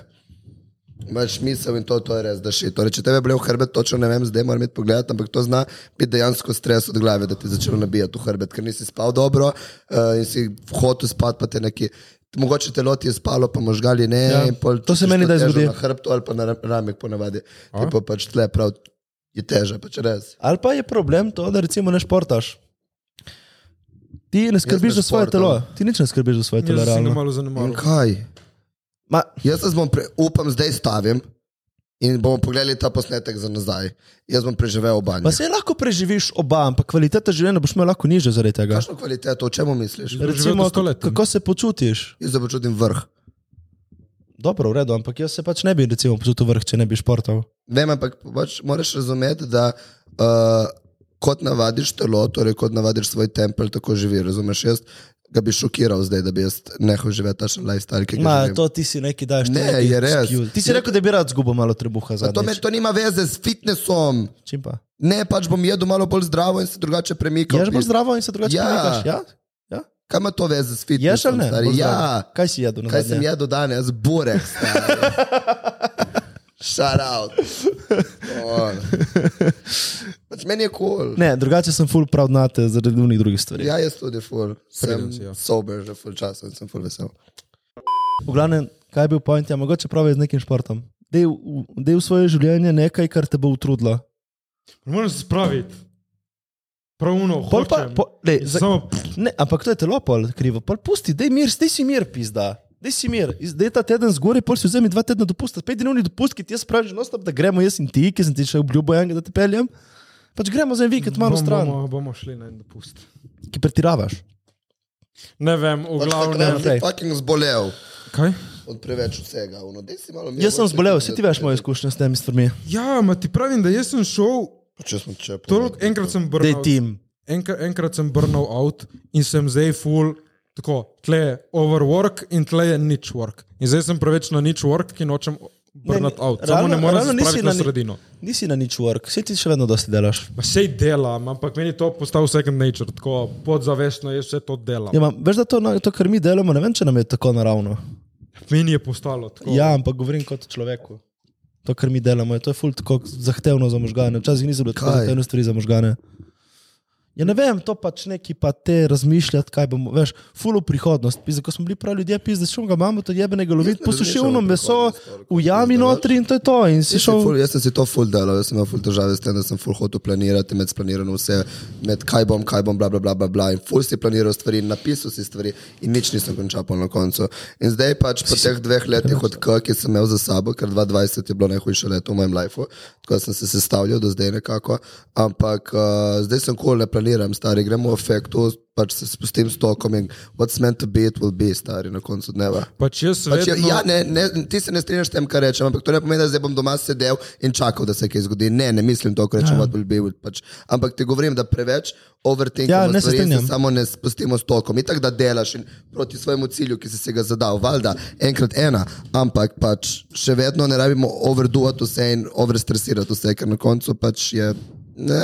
D: Imaš misel in to, to je res, da še. Torej, če tebe boli v hrbet, točno ne vem, zdaj moram iti pogledat, ampak to zna biti dejansko stres od glave, da ti začne nabijati v hrbet, ker nisi spal dobro uh, in si hotel spati, pa te neki. Mogoče telo ti je spalo, pa možgali ne.
A: Ja.
D: in pol
A: To se
D: čutiš
A: meni
D: to
A: kdaj
D: težo
A: zgodi.
D: Na hrbtu ali pa na ra- ramek ponavadi. Ti pa pač tle prav je teže, pač res.
A: Ali pa je problem to, da recimo ne športaš. Ti ne skrbiš za
D: ne
A: svoje
D: športam.
A: telo, ti nič ne skrbiš za svoje telo.
B: Jaz sem ga
A: realno.
B: malo
D: In
B: zanemaril.
D: kaj?
A: Ma,
D: Jaz se bom, pre, upam, zdaj stavim in bomo pogledali ta posnetek za nazaj. Jaz bom preživel oba.
A: Pa se lahko preživiš oba, ampak kvaliteta življenja boš imel lahko nižjo zaradi tega.
D: Kakšno kvaliteto, o čemu
B: boš
D: misliš?
B: živel
A: Recimo,
B: do 100 let.
A: kako se počutiš?
D: Jaz se počutim vrh.
A: Dobro, v redu, ampak jaz se pač ne bi recimo, počutil vrh, če ne bi športal.
D: Vem, ampak pač moraš razumeti, da uh, kot navadiš telo, torej kot navadiš svoj tempelj, tako živi. Razumeš, jaz ga bi šokiral zdaj, da bi jaz nehal živeti takšen lifestyle, ki ga
A: Ma,
D: živim.
A: to ti si neki daš. ti
D: Ne,
A: neki
D: je res. Ja.
A: excuse. Ti si rekel, da bi rad zgubil malo trebuha za
D: To, me, to nima veze s fitnessom.
A: Čim pa.
D: Ne, pač bom jedel malo bolj zdravo in se drugače premikal.
A: Ješ bolj zdravo in se drugače
D: Ja.
A: premikaš? Ja.
D: Kaj ima to veze
A: Ješ ali
D: s fitnessom?
A: ne?
D: stari?
A: Bolj
D: Ja,
A: zdravo. Kaj si jedel?
D: kaj
A: nazadnje?
D: sem jedel danes? Burek. Shout out. On. Pač meni je kul. Cool.
A: Ne, drugače sem full proud na te zaradi unih drugih stvari.
D: Ja, jaz tudi ful. Sem
B: Pridem si, ja.
D: sober že ful časa in sem ful vesel.
A: V glavnem, kaj je bil point, ja, mogoče prav je z nekim športom. Dej, v- dej v svoje življenje nekaj, kar te bo utrudilo.
B: Moram se spraviti. Pravno,
A: Pol pa-
B: hočem.
A: po- lej, za-
B: Samo
A: Ne, ampak to je telo pol krivo. Pol pusti, dej mir, dej si mir, pizda. Dej si mir, Iz- dej ta teden zgori, pol si vzemi dva tedna dopusta, pet dnevni dopust, ki ti jaz pravim, že nostop, da gremo jaz in ti, ki sem ti še obljubil, enega, da te peljem. Pač gremo za en vikend malo
B: bomo-
A: stran,
B: Bomo, bomo šli na en dopust.
A: ki pretiravaš.
B: Ne vem, v
D: Pač
B: glavnem.
D: takrat si fucking zbolel
B: Kaj?
D: od preveč vsega. Ono, daj si malo mira,
A: Jaz sem
D: mogoče
A: zbolel,
D: ti
A: vsi ti
D: ne-
A: veš moje izkušnje s temi stvarmi.
B: Ja, ma ti pravim, da jaz sem šel,
D: Če sem čepal.
B: toliko enkrat sem
A: Dej
B: brnil.
A: tim.
B: Enkrat, enkrat sem brnil out in sem zdaj full. Tako, tle je overwork in tle je nič work. In zdaj sem preveč na nič work, ki nočem brnati out. Samo ne morem se spraviti na
A: ni-
B: sredino.
A: Nisi na nič work, vsi ti še vedno dosti delaš.
B: Ma sej delam, ampak meni je to postal second nature, tako podzavestno jaz vse to delam.
A: Ja, ma, veš, da to, na- to, kar mi delamo, ne vem, če nam je tako naravno.
B: Meni je postalo tako.
A: Ja, ampak govorim kot o človeku. To, kar mi delamo, je, to je ful tako zahtevno za možgane. Včasih nisem bil tako
D: Kaj?
A: zahtevne stvari za možgane. Ja, ne vem, to pač neki pa te razmišljati, kaj bomo, veš, ful v prihodnost. Pizda, ko smo bili pravi ljudje, pizda, šum ga imamo, to jebenega loviti,
D: ne razmišljam
A: posušilno
D: o
A: meso
D: prihodnosti,
A: v jami
D: pizda, veš.
A: notri in to je to. In si
D: Jaz sem, ful,
A: šel,
D: jaz sem si to ful delal, jaz sem imel ful težave s tem, da sem ful hotel planirati, med splaniranjem vse, med kaj bom, kaj bom, bla, bla, bla, bla, bla. In ful si planiral stvari, napisal si stvari in nič nisem končal pol na koncu. In zdaj pač po teh dveh letih od K, ki sem imel za sabo, ker 2020 je bilo najhujše leto v mojem lifeu, tako da sem se sestavljal do zdaj nekako, ampak uh, zdaj sem kul, ne planiram, stari, gremo v efektu, pač se spustim s tokom in what's meant to be, it will be, stari, na koncu dneva.
B: Pač jaz
D: Pač, ja,
B: vedno,
D: ja, ne, ne, ti se ne strinjaš s tem, kar rečem, ampak to ne pomeni, da zdaj bom doma sedel in čakal, da se kaj zgodi. Ne, ne mislim to, kar rečem, what will be. will Pač. Ampak ti govorim, da preveč
A: Ja,
D: overthinkamo
A: ne se
D: stvari in se
A: strinjam.
D: samo ne spustimo s tokom. In tako da delaš in proti svojemu cilju, ki si si ga zadal, valjda enkrat ena, ampak pač še vedno ne rabimo overduati vse in overstresirati vse, ker na koncu pač je. Ne,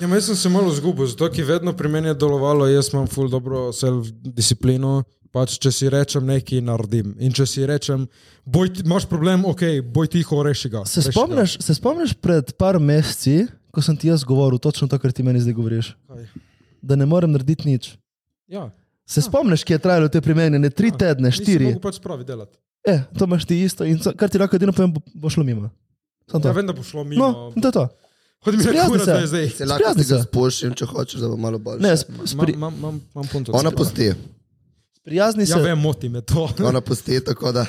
B: ja, ma jaz sem se malo zgubil, zato ki vedno pri meni je delovalo, jaz imam ful dobro self-disciplino. Pač, če si rečem nekaj, naredim. In če si rečem, boj, ti- imaš problem, ok, boj tiho, reši ga.
A: se
D: no.
B: reši ga.
A: spomniš, se spomniš pred par meseci, ko sem ti jaz govoril točno to, kar ti meni zdaj govoriš,
B: Kaj?
A: da ne morem narediti nič.
B: Ja,
A: Se spomniš, kje je trajalo te primenjene tri tedne, štiri?
B: Mogoče pač pravi delati.
A: E, to imaš ti isto in so, kar ti lahko edino povem, bo, bo šlo mimo. Samo
B: Ja,
A: to.
B: vem, da bo šlo mimo.
A: No, in to je to.
B: Hodi mi reči,
A: Sprijazni se.
B: da je zdaj.
D: se lahko
A: Sprijazni
D: ti ga
A: se.
D: spušim, če hočeš, da bo malo bolj.
A: Ne, sp-
B: Imam-
A: spri,
B: Imam imam- imam punto.
D: ona pusti,
A: sprijazni,
B: Ja,
A: se, No.
B: vem, moti me to.
D: ona pusti, tako da.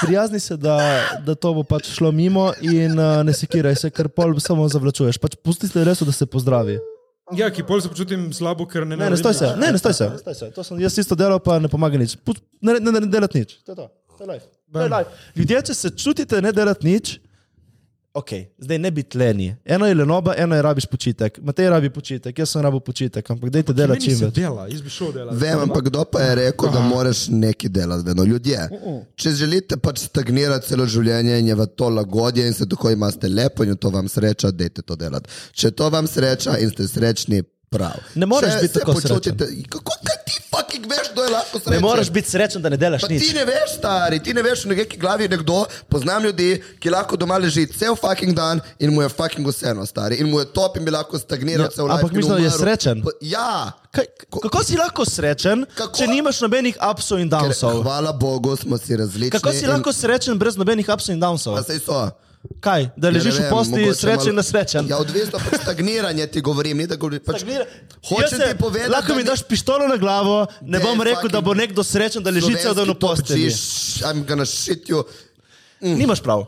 A: sprijazni se, da, da to bo pač šlo mimo in uh, ne sekiraj se, ker pol samo zavlačuješ. Pač pusti se res, da se pozdravi.
B: Ja, ki pol se počutim slabo, ker ne
A: Ne, ne stoj se, ne, ne stoj se. Ne, stoj se. To sem jaz isto delal, pa ne pomaga nič. Pust, ne, ne, ne, ne delati nič. To je to. To je life. To je life. Ljudje, če se čutite ne delati nič, ok, zdaj ne biti leni. Eno je lenoba, eno je rabiš počitek. Matej rabi počitek, jaz sem rabo počitek, ampak dajte delati čim več.
B: Dela, jaz bi šel delati.
D: Vem, ampak kdo pa je rekel, da moraš nekaj delati, vedno ljudje.
A: Mm,
D: Če želite pač stagnirati celo življenje in je v to lagodje in se tako imate lepo in je to vam sreča, dajte to delati. Če to vam sreča in ste srečni, prav.
A: Ne moreš
D: Če
A: biti
D: se
A: tako
D: počutite. Kako kaj ti fucking veš, kdo je lahko
A: Ne
D: srečen?
A: moreš biti srečen, da ne delaš
D: Pa ti
A: nič.
D: ne veš, stari, ti ne veš, v neki glavi je nekdo, poznam ljudi, ki lahko doma leži cel fucking dan in mu je fucking vseeno, stari, in mu je top in bi lahko stagniral
A: Ja,
D: cel dan.
A: ampak mislim, da je srečen.
D: Ja,
A: Kaj, kako si lahko srečen,
D: Kako?
A: kako? če nimaš nobenih upsov in
D: Ker,
A: downsov?
D: hvala Bogu, smo si različni.
A: Kako si
D: in-
A: lahko srečen brez nobenih upsov in
D: Pa
A: downsov?
D: saj so.
A: Kaj, da
D: Ja, ne
A: ležiš v
D: vem,
A: posti
D: mogoče
A: srečen in
D: malo-
A: nesrečen?
D: Ja, odvisno pač stagniranje ti govorim, ni da govorim. Pač,
A: Stagnira- Jaz
D: hočem
A: se-
D: ti povedati,
A: Lahko
D: da
A: mi
D: ni-
A: daš pištolo na glavo, ne
D: Dej,
A: bom rekel,
D: fucking
A: da bo nekdo srečen, da leži cel dan v
D: slovenski top
A: postelji.
D: G, š- I'm gonna shit you.
A: Nimaš prav.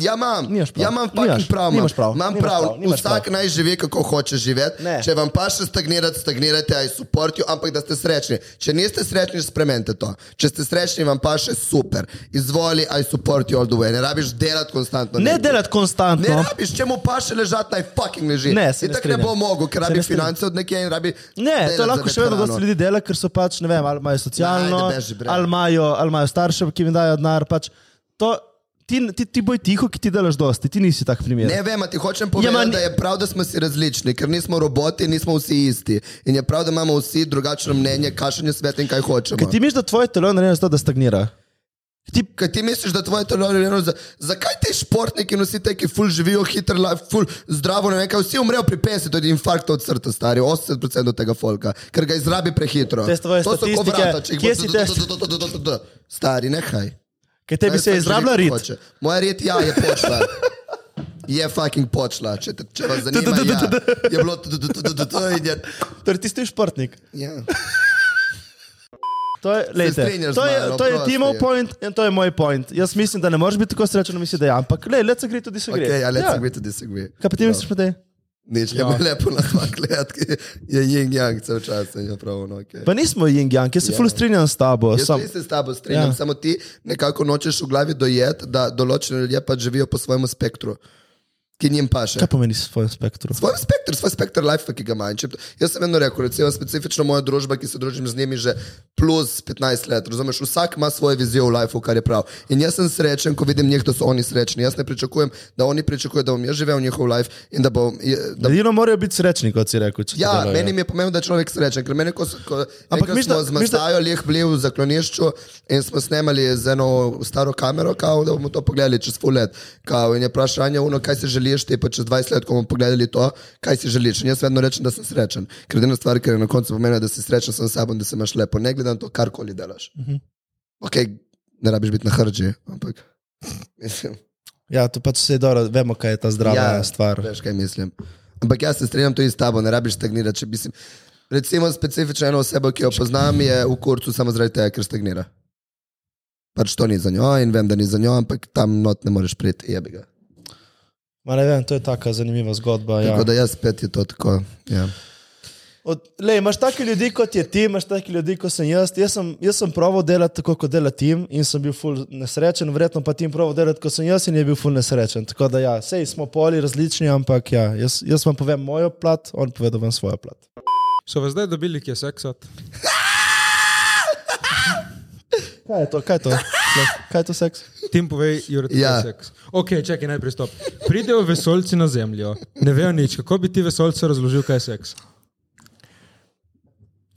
D: Ja, imam,
A: Nimaš prav.
D: ja, imam fucking
A: Nimaš.
D: prav, imam
A: Nimaš prav.
D: Imam
A: Nimaš
D: prav.
A: prav. Nimaš
D: Vsak
A: prav.
D: naj živi, kako hoče živeti.
A: Ne.
D: Če vam paše stagnirati, stagnirate, aj suportijo, ampak da ste srečni. Če niste srečni, spremenite to. Če ste srečni, vam paše super. Izvoli, aj suportijo all the way. Ne rabiš delati konstantno.
A: Ne
D: nekaj.
A: delati
D: Ne
A: konstantno.
D: rabiš, če mu paše ležati, naj fucking leži.
A: Ne, se ne
D: In tako ne
A: strinjam.
D: bo mogel, ker
A: Se
D: rabi
A: ne strinjam.
D: finance od nekje in rabi.
A: Ne, to
D: delati
A: lahko
D: za
A: še vedno
D: veterano.
A: dosti ljudi dela, ker so pač, ne vem, ali imajo socialno,
D: Ajde, beži, bre.
A: ali imajo, ali imajo starše, ki jim dajo denar. Pač, to, ti, ti, ti boj tiho, ki ti delaš dosti, ti nisi tak primer.
D: Ne vem, a ti hočem povedati,
A: Ja, ma
D: ja,
A: ni-
D: da je prav, da smo si različni, ker nismo roboti, nismo vsi isti. In je prav, da imamo vsi drugačno mnenje, kakšen je svet in kaj hočemo.
A: Ker ti misliš, da tvoje telo je narejeno za to, da stagnira.
D: ti, kaj ti misliš, da tvoje telo je rejeno za... Zakaj ti športniki in vsi te, ki ful živijo, hiter life, ful zdravo, ne vem kaj, vsi umrejo pri 50 od infarkta od srca, stari, 80% od tega folka, ker ga izrabi prehitro.
A: Te tvoje
D: to so ko
A: statistike,
D: vrata, če jih
A: kje
D: bo-
A: si
D: d-
A: te-
D: d- d- d- d- d- d- Stari, nehaj.
A: Ker tebi
D: Naj
A: se
D: vsak
A: je izrabila
D: živi,
A: rit.
D: pač ko hoče. Moja rit, ja, je počla. Je fucking počla, če, te, če vas zanima. Ja. Je bilo to in je...
A: Torej, ti si športnik.
D: Ja.
A: To je, lejte,
D: strinjaš
A: to
D: z
A: je,
D: mano,
A: to je
D: oprosti.
A: Timov point in to je moj point. Jaz mislim, da ne moreš biti tako srečen, misli, da je, ampak le, let se gre tudi se gre.
D: Okay, ja, let's yeah. agree to disagree. No.
A: Kaj pa ti misliš, da je?
D: Nič, ja. lepo na dva kletki, je jing jang cel čas in je prav ono. Okay.
A: Pa nismo jing jang, jaz se yeah.
D: Ja.
A: full strinjam s tabo.
D: Jaz
A: Sam,
D: Sam, se s tabo strinjam,
A: Ja.
D: ja. samo ti nekako nočeš v glavi dojeti, da določeni ljudje pač živijo po svojem spektru, ki njim paše.
A: kaj pomeni svoj spektrum?
D: Svoj spektr, svoj spektr life, ki ga imam. In če- Jaz sem vedno rekel, recimo specifično moja družba, ki se družim z njimi že plus 15 let, razumeš, vsak ima svojo vizijo v lifeu, kar je prav. In jaz sem srečen, ko vidim njih, da so oni srečni. Jaz ne pričakujem, da oni pričakujejo, da bom jaz živel njihov life in da bom... je- Da
A: Edino morajo biti srečni, kot si rekel. če to
D: Ja,
A: delajo.
D: meni je pomembno, da je človek srečen, ker meni, ko, s- ko
A: Ampak
D: enkrat
A: misliš, da-
D: smo z
A: misliš, da-
D: Matajo leh bili v zaklonišču in smo snemali z eno staro kamero, kao, da bomo to pogledali čez full let. Kao, in je vprašanje, uno, kaj si želiš, te pa čez 20 let, ko bomo pogledali to, kaj si želiš. In jaz vedno rečem, da sem srečen, ker edina stvar, ki je na koncu pomeni, da si srečen sam s sabo in da se imaš lepo, ne glede na to, karkoli delaš. Mhm. Ok, ne rabiš biti na hrđi, ampak mislim.
A: Ja, to pač se je dobro, vemo, kaj je ta zdrava ja, stvar.
D: Veš, kaj mislim. Ampak jaz se strinjam tudi s tabo, ne rabiš stagnirati. Če mislim, recimo, specifično eno osebo, ki jo poznam, je v kurcu samo zaradi tega, ker stagnira. Pač to ni za njo in vem, da ni za njo, ampak tam not ne moreš priti, jebi ga.
A: Ma ne vem, to je taka zanimiva zgodba.
D: Ja.
A: Ja.
D: Tako da jaz spet je to tako. Ja.
A: Od, lej, imaš take ljudi kot je ti, imaš take ljudi kot sem jaz. Jaz sem, jaz sem proval delati tako, kot dela tim in sem bil ful nesrečen, verjetno pa tim proval delati kot sem jaz in je bil ful nesrečen. Tako da ja, sej smo poli različni, ampak ja, jaz, jaz vam povem mojo plat, on pove vam svojo plat.
B: So vas zdaj dobili, ki je seksat?
A: Kaj je to? Kaj je to? Kaj je to seks?
B: Tim povej, Jure, ti
D: Ja.
B: ja. seks. Ok, čakaj, naj pristop. Pridejo vesolci na zemljo, ne vejo nič. Kako bi ti vesolcu razložil, kaj je seks?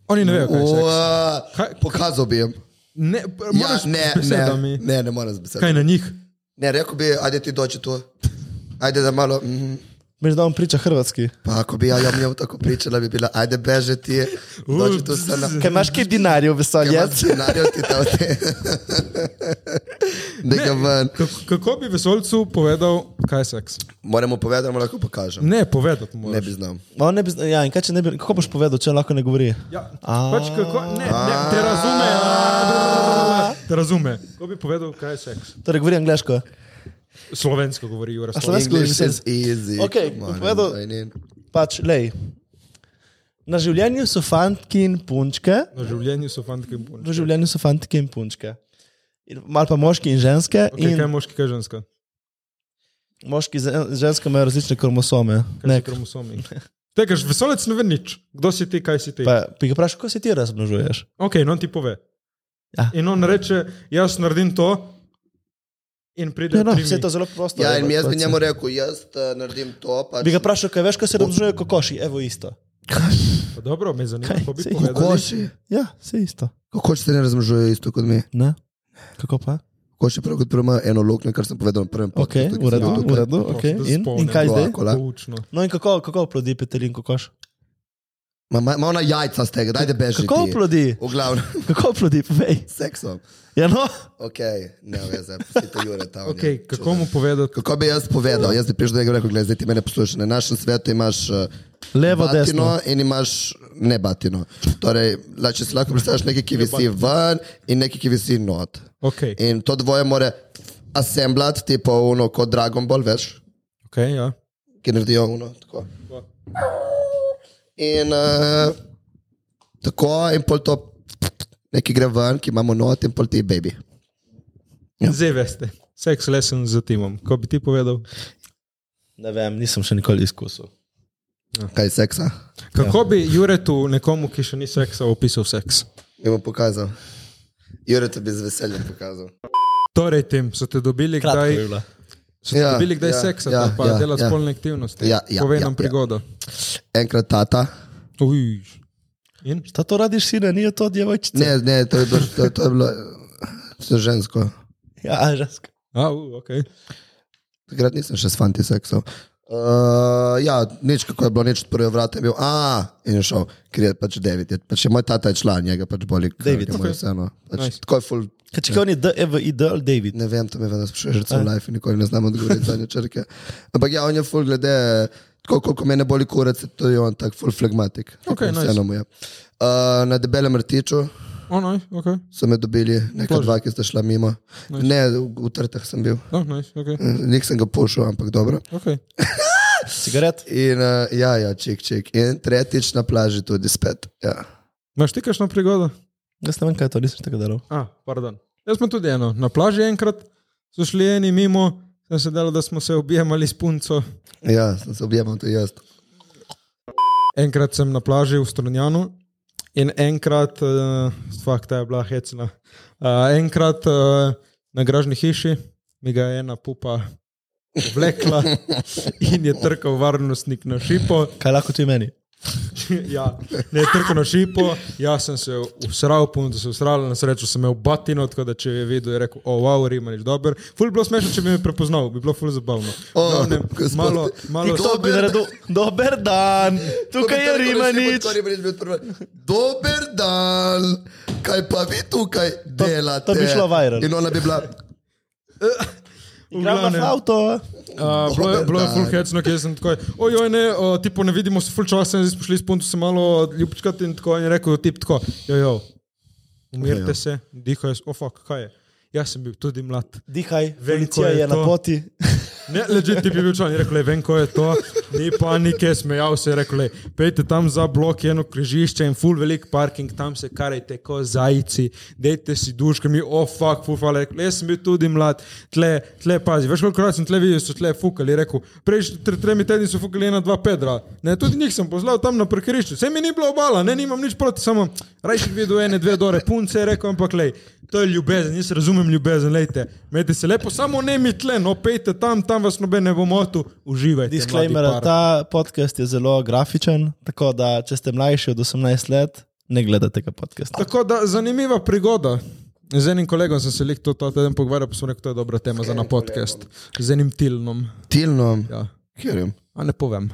B: Oni ne vejo, kaj je seks.
D: Ua,
B: Kaj-
D: Pokazal bi jim.
B: Ne,
D: Ja,
B: moraš
D: ne,
B: z besedami.
D: ne, ne, ne morem z besedami.
B: Kaj na njih?
D: Ne, rekel bi, ajde ti doči tu. Ajde, da malo. Mm,
A: Meni da on priča hrvatski.
D: pa, ko bi ja, ja imel tako pričala, bi bila, ajde bežeti, doči tu se na.
A: Kaj imaš kaj dinarjev, vesolje?
D: scenarij ti dal te. Da ga ven.
B: Kako, kako bi vesolcu povedal, kaj je seks?
D: Moramo povedati, da mu lahko pokažem.
B: Ne, povedati mu.
D: Ne bi znal.
A: On ne bi, zna- ja, in kaj če ne bi, kako boš povedal, če lahko ne govori?
B: Ja, pač kako, ne, ne, te razume. a, Te razume. Kako bi povedal, kaj je seks?
A: Torej, govori angliško.
B: Slovensko govori, Jure.
A: A slovensko?
B: slovensko.
D: English
A: Skoraj
D: is
A: že
D: easy.
A: Okej,
D: come on,
A: povedal-
D: I need-
A: Pač, lej. Na življenju so fantki in punčke.
B: Na življenju so fantki in punčke.
A: V življenju so fantke in punčke. In Mal pa moški in ženske.
B: Okay,
A: Okay,
B: kaj je
A: in
B: moški, kaj je ženska?
A: moški in ženske imajo različne kromosome.
B: Kaj
A: Ne,
B: so kromosomi? Tekaš, vesolec ne ve nič. Kdo si ti, kaj si ti?
A: pa, pa jih vprašaj, kako se ti razmnožuješ.
B: Ok, in on ti pove.
A: Ja.
B: In on reče, jaz naredim to, in pride
A: Ne, no,
B: do
A: vse je to
B: tega.
A: zelo prosto.
D: Ja,
A: evo,
D: in jaz bi
A: pač.
D: njemu rekel, jaz eh, naredim to. Pač
A: Bi ga vprašal, kaj veš, kaj se razmnožuje kokoši, evo isto.
B: Dobro, me zanima,
A: Kaj,
B: kako bi
A: saj-
B: povedal.
D: Kokoši.
A: Ja, vse isto.
D: Kokoši se ne razmnožujejo isto kot mi.
A: Ne? Kako pa?
D: Kokoši prav kot prvo imajo eno luknjo, kar sem povedal na prvem
A: Ok, v
D: podcastu, ki sem
A: redu,
D: bil
A: v
D: tukaj.
A: redu. Okay. In, in kaj zdaj?
D: Polako, la.
B: Poučno.
A: No in kako, kako oplodi petelin kokoš?
D: Ma- ma- Ma ona jajca z tega, dajde beži.
A: Kako
D: ti.
A: oplodi?
D: V glavnem,
A: Kako oplodi, povej.
D: seksom.
A: Ja, no.
D: Ok, ne veze, pustite Jure tam.
B: Okay, kako mu povedati?
D: Kako bi jaz povedal? Jaz bi prišel do tega in rekel, gledaj, zdaj ti mene poslušaj. Na našem svetu imaš eh,
A: Levo, desno.
D: batino in imaš ne batino. Torej, la- če
A: Ja.
D: si lahko predstavljaš nekaj, ki visi ven in nekaj, ki visi not.
B: Okay.
D: In to dvoje more assemblat, tipo ono kot Dragon Ball, veš,
B: Okay, ja.
D: ki naredijo ono tako. In uh, tako, in pol to neki gre ven, ki imamo not in pol ti baby.
B: Zdaj veste, seks lesen z timom. Ko bi ti povedal,
A: Ne vem, nisem še nikoli izkusil. Ja.
D: Kaj seksa?
B: kako bi Juretu, nekomu, ki še ni seksa, opisal seks?
D: Mi bo pokazal. Jurek bi z veseljem pokazal.
B: Torej, tem so te dobili,
A: Kratko je
B: kdaj,
A: bilo.
B: so te
D: Ja,
B: dobili, kdaj
D: ja,
B: seksa,
D: ja,
B: ja, pa
D: ja,
B: ja, dela
D: ja.
B: ja. spolne aktivnosti.
D: Ja, ja,
B: Povej
D: ja,
B: nam
D: ja.
B: prigodo.
D: Enkrat tata.
B: Uj. In?
A: Ta to radiš, sine, ni to djevojčica.
D: Ne, ne, to je bilo, to, to je bilo eh, žensko.
A: Ja, ženska.
B: A, u, okay.
D: Takrat nisem še s fanti seksal. Uh, ja, nič, kako je bilo, nič prvi vrat je bil, a in je šel, ker je pač David, je, pač je moj tata je član, njega pač boli.
A: David,
D: okay. vseeno. Pač, nice.
B: Nice.
D: Tako je full,
A: Kaj če on je E DEVID ali David?
D: ne vem, to me vedno sprašuješ, že cel life in nikoli ne znam odgovoriti za nečrke. Ampak ja, on je full glede, tako koliko me ne boli kurac, to je on tak full flegmatik.
B: Okej, nice.
D: Vseeno mu je. Uh, na debelem rtiču
B: Oh, nice, okay.
D: so me dobili, nekaj dva, ki sta šla mimo. Nice.
B: Nice.
D: Ne, v, v trtah sem bil.
B: Oh, nice, okay.
D: Nisem ga pušil, ampak dobro.
B: Okay.
A: Cigaret?
D: In uh, ja, ja, čik, čik. In tretjič na plaži tudi spet. Ja.
B: Imaš ti kakšno prigodo?
A: Jaz ne vem, kaj je to, nisem tega delal.
B: A, pardon. Jaz smo tudi eno. Na plaži enkrat so šli eni mimo, sem se delal, da smo se objemali s punco.
D: ja, sem se objemal tudi jaz.
B: Enkrat sem na plaži v Strunjanu in enkrat, uh, fakt, ta je bila hecna. Uh, enkrat uh, na gražni hiši mi ga je ena pupa vlekla in je trkal varnostnik na šipo.
A: Kaj lahko ti meni?
B: ja, ne, trkal na šipo, jaz sem se usral, punto se usral, na srečo sem imel batino, tako da če je videl, je rekel, o, oh, wow, rimaniš dober. Ful bi bilo smešno, če bi me prepoznal, bi bilo ful zabavno.
D: O,
B: V glavnem,
D: gospod.
B: malo, malo,
A: To bi naredil. Dober dan, tukaj je Rimanič.
D: To je bil prvi. Dober dan, kaj pa vi tukaj delate?
A: bi šlo viral.
D: In ona bi bila,
B: v
A: Igram na
B: glavnem.
A: avto.
B: Uh, bilo je- bilo je
D: dan.
B: full hecno, kjer sem tako, ojoj, ne, o, tipo ne vidimo se full časa, zdaj smo šli s punto se malo ljubčkati in tako, in je rekel tip tako, jojo, umirte se, dihaj, ofak, kaj je. Jaz sem bil tudi mlad.
A: Dihaj,
B: Vem,
A: policija
B: ko je
A: je na
B: to.
A: poti.
B: Ne, ležite, ti bi bil član, je rekel, "Lej, vem, ko je to, ni panike, smejal se je, rekel, "Lej, pejte tam za blok, eno križišče in full velik parking, tam se karajte, ko zajci, dejte si duške, mi, oh, fuck, full, fale, rekel, jaz sem bil tudi mlad, tle, tle, pazi, veš, koliko krat sem tle videl, so tle fukali, je rekel, prej tre, tremi tedni so fukali ena, dva pedra, ne, tudi njih sem poslal tam na parkirišču, se mi ni bilo obala, ne, nimam nič proti, samo rajši bi videl ene, dve dore punce, je rekel, ampak, lej, To je ljubezen, jaz razumem ljubezen, lejte. Mete se lepo, samo ne mi tle, no pejte tam, tam vas noben ne bo motil, uživajte.
A: Disclaimer,
B: mladi par.
A: ta podcast je zelo grafičen, tako da če ste mlajši od 18 let, ne gledate tega podcasta.
B: Tako da zanimiva prigoda. Z enim kolegom sem se lik to ta teden pogovarjal, pa sem rekel, to je dobra tema za na podcast. Z enim tilnom.
D: tilno,
B: Ja.
D: kjerim.
B: A ne povem.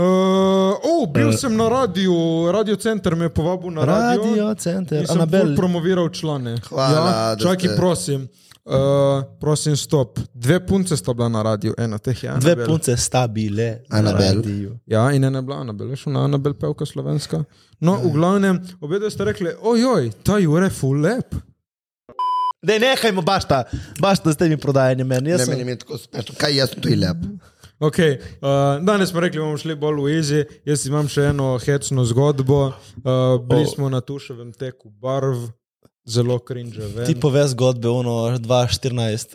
B: Uh, oh, bil sem na radiju, radio center me je povabil na radio.
A: Radio center,
B: In sem
A: Anabel.
B: bolj promoviral člane.
D: Hvala,
B: Ja,
D: da
B: čaki,
D: ste-
B: prosim. Uh, prosim, stop. Dve punce sta bila na radiju, ena teh je.
A: Dve
B: Anabel.
A: punce sta bile. na
D: Anabel.
A: radiju.
B: Ja, in ena je bila Anabel, veš, ona Anabel pevka slovenska. No, v glavnem, obe ste rekli, ojoj, ta Jure je full lep.
A: Ne, nehajmo bašta, bašta s temi prodajanjem meni. Jaz
D: Ne,
A: sem-
D: meni je tako smešno. Kaj jaz sem tu in lep?
B: Okay, uh, danes smo rekli, bomo šli bolj v Easy. Jaz imam še eno hecno zgodbo. Uh, bili
A: O.
B: smo na tuševem teku barv, zelo krinže.
A: Ti pove zgodbe, ono 2.14.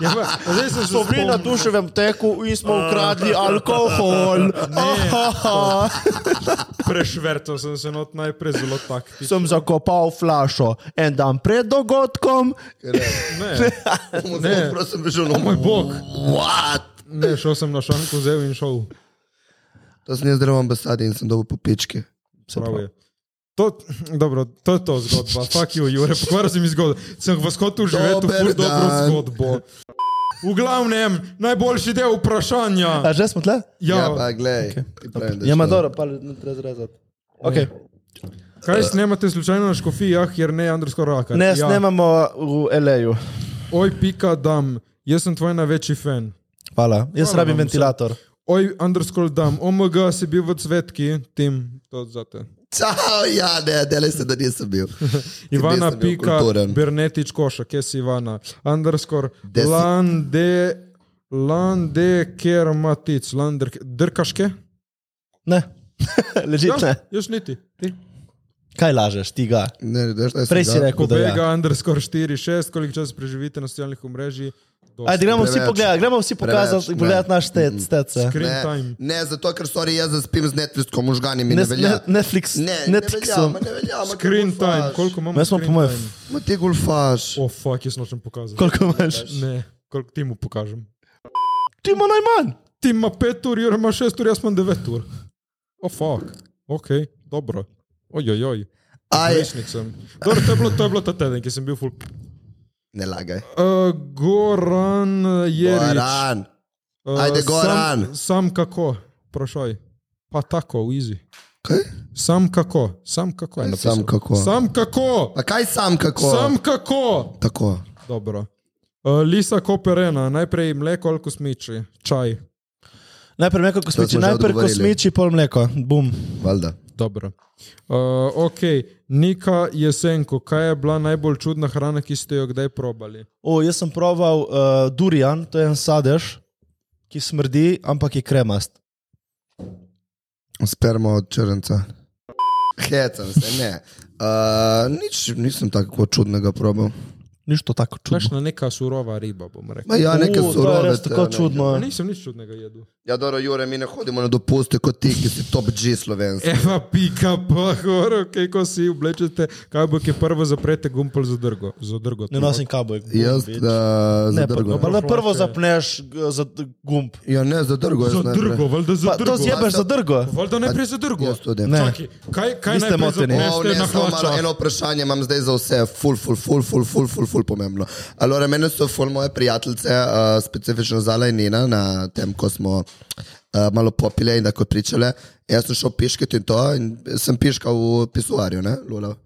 B: ja, pa, zdaj sem se spomnil.
A: duševem teku in smo ukradli alkohol. Ahaha.
B: Prešvrtel sem se not najprej zelo taktično.
A: Sem zakopal flašo en dan pred dogodkom.
B: Ne, ne,
D: Prosim, bežal, no,
B: moj bog.
D: what?
B: Ne, šel sem na šanku, vzel in šel.
D: To sem jaz zdrav v ambasadi in sem dobil popičke.
B: Prav je. To, dobro, to je to zgodba. Fak jo, Jure, pokvaril si mi zgodbo. Sem vas hotel živeti v
D: Dober
B: ful dobro
D: dan.
B: zgodbo. V glavnem, najboljši del vprašanja.
A: A že smo tle?
B: Ja,
D: Ja, pa glej. ti pravim, da
A: Ja, ma
D: šlo.
A: dobro, pa ne treba zrezati. Okay.
B: kaj snemate slučajno na škofijah, jer ne Andrsko Raka?
A: Ne,
B: ja.
A: snemamo v L.A.ju.
B: Oj, pika dam, jaz sem tvoj največji fan.
A: Hvala, jaz
B: Hvala
A: rabim
B: vam vsem.
A: ventilator.
B: Oj, Andrsko dam, omg, si bil v cvetki, tim, to zate.
D: Čau, ja, ne, delaj se, da nisem bil.
B: Ivana
D: Nisem bil
B: Pika,
D: kulturen.
B: Bernetič Koša, kje si Ivana, underscore,
D: Deset.
B: Lande, Lande, ker matic, Lander, drkaške? Ja,
A: Ne, leži
D: Ja.
A: ne.
B: jaz niti. Ti?
A: Kaj lažeš, ti ga?
D: Ne, ne, ne,
A: Prej si rekel, da ja. je.
B: Pobega, underscore 4, 6, koliko časa preživite na socialnih omrežjih? Dosti.
A: Ajde, gremo vsi
D: Preveč.
A: pogledati, gremo vsi pokazati
D: Preveč,
A: in
D: ne.
A: pogledati naš
D: Mm,
A: tec,
D: mm.
A: tece.
B: Screen
D: Ne,
B: time.
D: ne, zato ker sorry, jaz zaspim z Netflixom, možgani mi ne,
A: Ne,
D: ne velja.
A: ne, Netflix,
D: ne, ne velja,
A: Netflixom.
D: ma ne velja. ma ker
B: Screen
D: golfaš.
B: time, koliko imamo?
A: Mi smo po
B: screen
A: mojem,
B: time?
D: Ma ti golfaš.
B: O, oh, fuck, jaz nočem pokazati.
A: koliko imaš?
B: Ne, koliko ti mu pokažem.
A: Ti ima najmanj.
B: Ti ima 5 ur, Jure ima 6 ur, jaz imam 9 ur. O, oh, fuck, ok, dobro. Ojojoj.
D: Aj,
B: Prejšnjik sem. Dobro, to je bilo, to je bilo ta teden, ki sem bil full.
D: ne lagaj.
B: Uh, Goran je.
D: Goran. Ajde, Goran.
B: Sam, sam kako, vprašaj. Pa tako, v izi.
D: Kaj?
B: Sam kako, sam kako je Ja, napisal.
D: Sam kako?
B: Sam kako,
D: Pa kaj sam kako?
B: sam kako.
D: Tako.
B: Dobro. Uh, Lisa Koperena, najprej mleko ali kosmiči, čaj.
A: Najprej mleko kosmiči,
D: smo že
A: najprej
D: odgovorili.
A: kosmiči, pol mleko. Bum.
D: Valjda.
B: Dobro. Uh, ok, Nika Jesenko, kaj je bila najbolj čudna hrana, ki ste jo kdaj probali?
A: O, jaz sem proval uh, durian, to je en sadež, ki smrdi, ampak je kremast.
D: Sperma od črnca. Hecam se, ne. Uh, nič nisem tako čudnega probal.
A: Nič to tako čudno.
B: Kakšna neka surova riba, bom rekel.
D: Ma ja, neke
A: O,
D: surove.
A: To je res
D: te,
A: tako
D: ne.
A: čudno.
B: Nisem nič čudnega jedel.
D: Ja, dobro, Jure, mi ne hodimo na dopuste kot ti, ki si top
A: E,
D: G slovenski.
B: Eva, pika, pa gor, okay, ko si oblečete, kaj bo, ki prvo zaprete gumpel za drgo. Za drgo
D: no,
A: Ne nosim kabel.
D: Jaz, da,
A: Ne, pa,
D: zadrgo.
A: pa le prvo
B: Flaše.
A: zapneš g- za d- gumb.
D: Ja, ne, zadrgo. jaz
B: za
D: najprej.
B: drgo, valjda za
A: Pa, to
B: drgo.
A: zjebeš za drgo.
B: Valjda najprej za drgo.
D: Jaz tudi.
A: Ne.
B: Čaki, kaj, kaj
A: Niste
B: najprej
A: moteni.
B: zapneš
D: O,
B: te na
D: ne, samo malo,
B: hlača?
D: eno vprašanje imam zdaj za vse, ful, ful, ful, ful, ful, ful, ful pomembno. Alora, mene so ful moje prijateljice, uh, specifično Zala in Nina, na tem, ko smo uh, malo popile in tako pričale. Jaz sem šel piškati in to, in sem piškal v pisuarju, ne, Lula.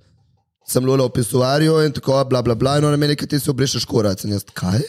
D: Sem lula v pisuarju in tako, bla, bla, bla, in ona meni, ki ti se obrišeš kurac. In jaz, kaj?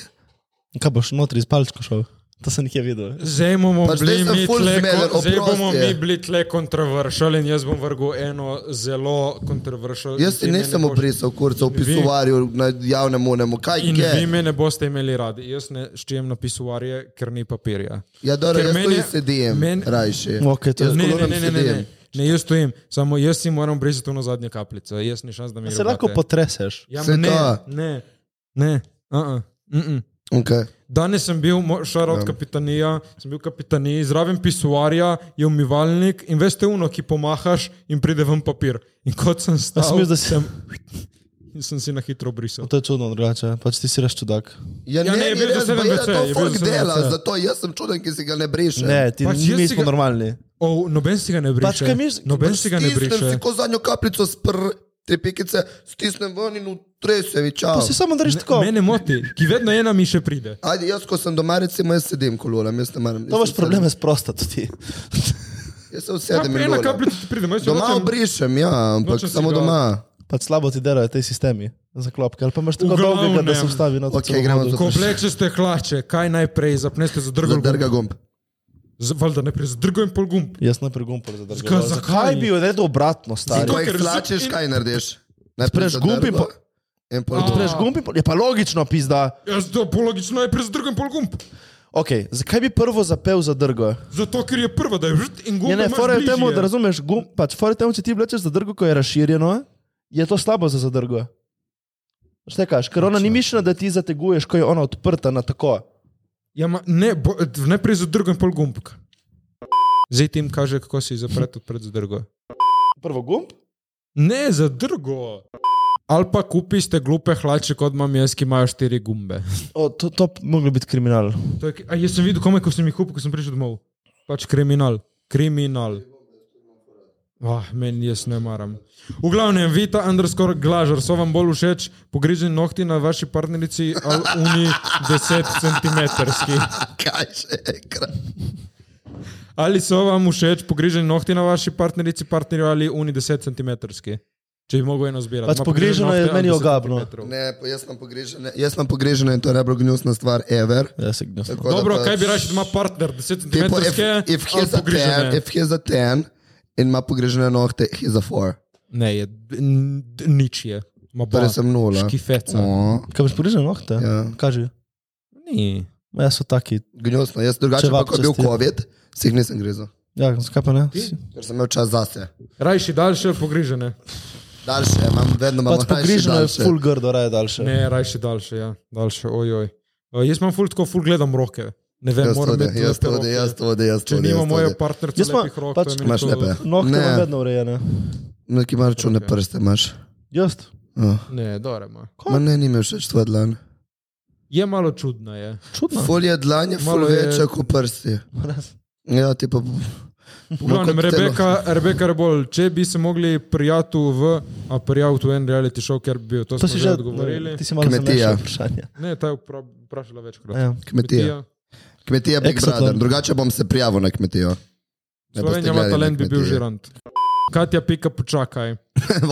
A: Kaj boš notri iz palčka šel? To sem nekje videl.
B: Zdaj bomo
D: Pa Pač, zdaj
B: bili
D: sem
B: mi
D: ful
B: tle
D: zmeden,
B: kon- zdaj
D: oprosti.
B: bomo mi bili tle kontroversalen, jaz bom vrgel eno zelo kontroversalen.
D: Jaz ti nisem obrisal kurca v pisuarju na javnem unemu, kaj
B: In vi
D: je?
B: me ne boste imeli radi. Jaz ne ščijem na pisuarje, ker ni papirja.
D: Ja, dobro,
B: Ker
D: jaz
B: meni
D: tu
B: je-
D: sedim,
B: meni-
D: rajši.
A: Okay, to
D: Jaz
A: je
B: Ne, ne,
D: kolonam
B: ne, ne, ne,
D: sedim.
B: ne. ne, jaz stojim, samo jaz si moram brisati to na zadnje kapljice, jaz ni šans, da mi
A: Se lahko
B: rubate.
A: potreseš.
B: Ja,
D: Se
B: ma ne,
D: da.
B: ne, ne, uh -uh.
D: Okay.
B: Danes sem bil, šel od kapitanija, sem bil kapitanij, zraven pisuarja je umivalnik in veste uno, ki pomahaš in pride ven papir. In kot sem stal,
A: Jaz sem mislil, da si.
B: in sem si na hitro brisal.
A: To je čudno drugače, pač ti si res čudak.
D: Ja,
B: Ja, ne, je
D: ni
B: bil za
D: res,
B: sedem
D: baje,
B: WC,
D: to
B: je bil
D: folk
B: za sedem
D: dela,
B: WC.
D: zato jaz sem čuden, ki si ga ne briše.
A: Ne, ti
B: Pač
A: pač
B: jaz si
A: nismo
B: ga-
A: normalni.
B: O, noben si ga ne briše.
A: Pač kaj misliš-
B: noben si ga ne
D: Stisnem
B: briše.
D: si ko zadnjo kapljico spr, tri pikice, stisnem ven in utrese, vi čau.
A: To si samo držiš tako.
B: Mene moti, ki vedno ena mi še pride.
D: Ajde, jaz ko sem doma, recimo, jaz sedim kolona, jaz ne maram.
A: To
D: jaz
A: boš
D: se
A: probleme s prostato ti.
D: usedem. Jaz se
B: Kap,
D: usedem in
B: Ja, ena
D: lolam.
B: kapljica ti pride, ma jaz jo
D: Doma
B: nočem-
D: obrišem, ja, ampak
B: Nočem si
D: samo
B: ga-
D: doma.
A: Pač slabo ti delajo ti sistemi za klopke. Ali pa imaš tako
B: V
A: dolgega, da se
B: glavnem.
A: vstavi na to.
D: Ok,
A: celo
D: gremo
A: vodo.
D: do-
B: Ko oblečete hlače, kaj najprej zapnete za drgo?
D: Zadrga gumb.
B: Valjda najprej za drgo in pol gumb.
A: Jaz najprej gumpor
B: Zakaj-
A: zadržujem.
B: zakaj?
A: Zakaj bi jo naredil obratno,
D: In
A: stari?
B: Zato,
D: ko jih
B: ker
D: tlačeš,
B: in-
D: kaj narediš? Najprej
A: Spreš
D: zadrgo
A: gumb in po-
D: in pol
B: A.
D: gumb.
A: Odpreš gumb in pol- je pa logično, pizda.
B: Jaz to po logično najprej za drgo in pol gumb.
A: Ok, zakaj bi prvo zapel zadrgo?
B: Zato, ker je prva, da je vrt in gumb.
A: Je ne, fora je v tem, da razumeš, gum, pač fora je v tem, če ti vlečeš zadrgo, ko je razširjeno, je to slabo za zadrgo. Štekaš, ker ona ni mišljena, da ti zateguješ, ko je ona odprta na tako.
B: Ja, ma, ne, bo, najprej za drgo in pol gumbka. Zdaj ti jim kaže, kako si zapret odprt za drgo.
A: Prvo gumb,
B: Ne, za drgo. Ali pa kupiš te glupe hlače, kot imam jaz, ki imajo štiri gumbe.
A: o, to, to bi moglo biti kriminal.
B: To je, a jaz sem videl komaj, ko sem jih kupil, ko sem prišel domov. Pač kriminal, kriminal. Ah, meni jaz ne maram. V glavnem, Vita, underscore glažar, so vam bolj všeč pogriženi nohti na vaši partnerici ali uni 10 cm.
D: Kaj še enkrat?
B: Ali so vam všeč pogriženi nohti na vaši partnerici, partnerju ali uni 10 cm? Če bi mogel eno zbirati.
A: Pač
B: Ma pogrižene
A: pogriženo je
B: nohte ali
A: meni
B: 10
A: ogabno.
B: centimetrov.
D: Ne, pa jaz sem pogrežen, jaz sem pogrežen in to je najbolj gnusna stvar ever.
A: Ja, se gnusno.
D: Tako da
B: Dobro,
D: pač-
B: kaj bi rekel, da ima partner 10 cm?
D: Tipo, if, if he's a ten, if he's a ten in ima pogrežene nohte, he's a four.
B: Ne, je, n- d- nič je. Ma ba,
D: Torej sem nula. No.
B: Škifeca.
D: O,
A: Kaj boš porižen nohte?
D: Ja.
A: Kaži.
B: Ni.
A: Ja, so taki.
D: Gnusno, jaz drugače,
A: Čevap
D: pa, ko je bil
A: čez teden.
D: COVID, si jih nisem grizel,
A: Ja, zakaj pa ne?
D: ker sem imel čas zase.
B: Rajši daljše, pogrižene.
D: Daljše, imam vedno malo
A: Pač pogriženo je
D: daljše.
A: full grdo, raje daljše.
B: Ne, rajši daljše, ja. Daljše, ojoj. Uh, jaz imam ful tako, ful gledam roke. Ne vem,
D: Jaz to
B: moram
D: ode,
B: imeti
D: jaz
B: lepe
D: to ode,
B: roke.
D: jaz to ode, jaz to
B: Če
D: ode.
B: nima
D: jaz to
B: moja
D: ode.
B: partnerica
A: Jaz imam-
B: lepih rok,
A: pač-
B: to je meni
D: Imaš
B: to-
D: lepe.
A: Nohte
D: Ne.
A: imam vedno urejene.
D: Neki No, imaš čune prste, imaš.
A: Jaz?
D: Oh.
B: Ne, dobro ima.
D: Ma ne, nime všeč tvoja dlan.
B: Je malo čudna, je.
A: Čudno.
D: Ful je dlan, je ful
B: Malo je-
D: večja kot prsti.
A: Res.
D: Ja, ti pa... No,
B: V glavnem, Rebeka, Rebeka Rebol, če bi se mogli prijatu v, a prijaviti v en reality show, ker bi bil, to,
A: To
B: to
A: si
B: smo
A: že
B: že odgovorili.
A: Ti si malo
D: Kmetija.
A: zamešal vprašanje.
B: Ne, ta je vpra- vprašala večkrat.
A: Ja.
D: Kmetija. Kmetija Big
A: Exatlon.
D: Brother. Drugače bom se prijavil na kmetijo. Ne boste
B: Slovenija ima
D: gledali na
B: talent, bi bil
D: kmetiji.
B: žirant. Katja, pika, počakaj.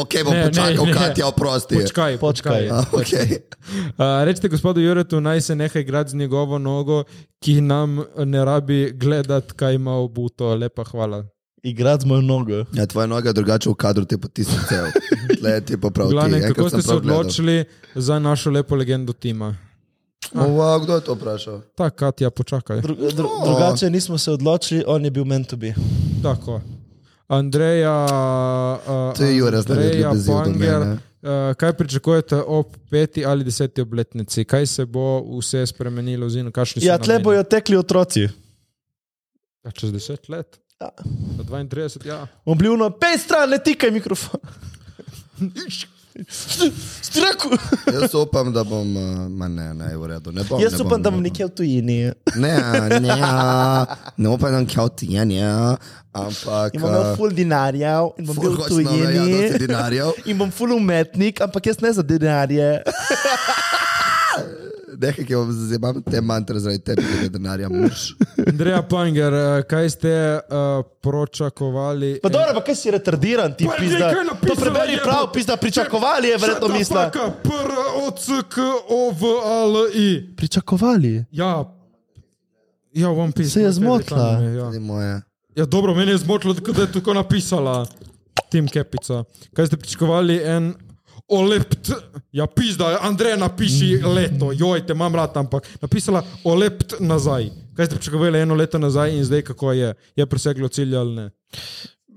D: ok, bom
B: Ne, ne,
D: počakal,
B: ne.
D: Katja, oprosti.
B: Počkaj,
A: Počkaj.
B: počkaj.
D: A, ok.
B: Uh, rečete gospodu Juretu, naj se neha igrati z njegovo nogo, ki nam ne rabi gledati, kaj ima obuto. Lepa hvala.
A: Igrati z mojo nogo.
D: Ja, tvoja noga je drugače v kadru, ti pa ti si cel. Tle je ti pa
B: V
D: prav. ti,
B: Glavnem,
D: enkrat
B: kako ste
D: sem
B: se
D: prav gledal.
B: odločili za našo lepo legendo tima?
D: O, wow, kdo je to vprašal?
B: Ta Katja, počakaj.
A: Dru, dru,
D: No.
A: drugače nismo se odločili, on je bil meant to be.
B: Tako. Andreja, uh,
D: To je Jure, zdaj
B: Andreja
D: ljubeziv do
B: Banger,
D: mene.
B: uh, kaj pričakujete ob peti ali deseti obletnici? Kaj se bo vse spremenilo, oziroma kakšni so
A: Ja, tle
B: nameni?
A: bojo tekli otroci.
B: Ja, čez deset let?
A: Ja.
B: Na 32, ja.
A: Obljuno, pej stran, ne tikaj mikrofon. Si rekel?
D: Jaz upam, da bom... uh, Ma ne, ne, v redu. Ne bom,
A: Jaz
D: ne
A: upam, da bom
D: ne
A: nekje v tujini.
D: Ne, ne, ne upam, da bom kao ti, ja, ne. Ampak...
A: In bom imel
D: uh,
A: ful dinarjev, in bom
D: ful
A: bil v
D: hočem, ja, dosti
A: tujini.
D: denarjev.
A: In bom ful umetnik, ampak jaz ne za denarje.
D: Nekaj, ki vam zazemam te mantre zaradi tebe, ki je denarja mož.
B: Andreja Panger, eh, kaj ste uh, pročakovali?
A: Pa dobro, pa kaj si retardiran, ti
B: Pa je
A: pizda.
B: nekaj
A: To
B: napisala,
A: preberi
B: jebote.
A: prav, pizda, pričakovali je verjetno misla.
B: P-R-O-C-K-O-V-A-L-I.
A: Pričakovali.
B: Ja, ja, One Piece.
A: Se je
B: na tebi
A: zmotila.
B: tam je, Ja.
D: Ni moje.
B: ja, dobro, meni je zmotilo, tako da je tako napisala Tim Kepica. Kaj ste pričakovali? En olept, ja, pizda, Andrej, napiši leto, joj, te imam rad, ampak napisala olept nazaj. Kaj ste pričakovali eno leto nazaj in zdaj kako je? Je preseglo cilj ali ne?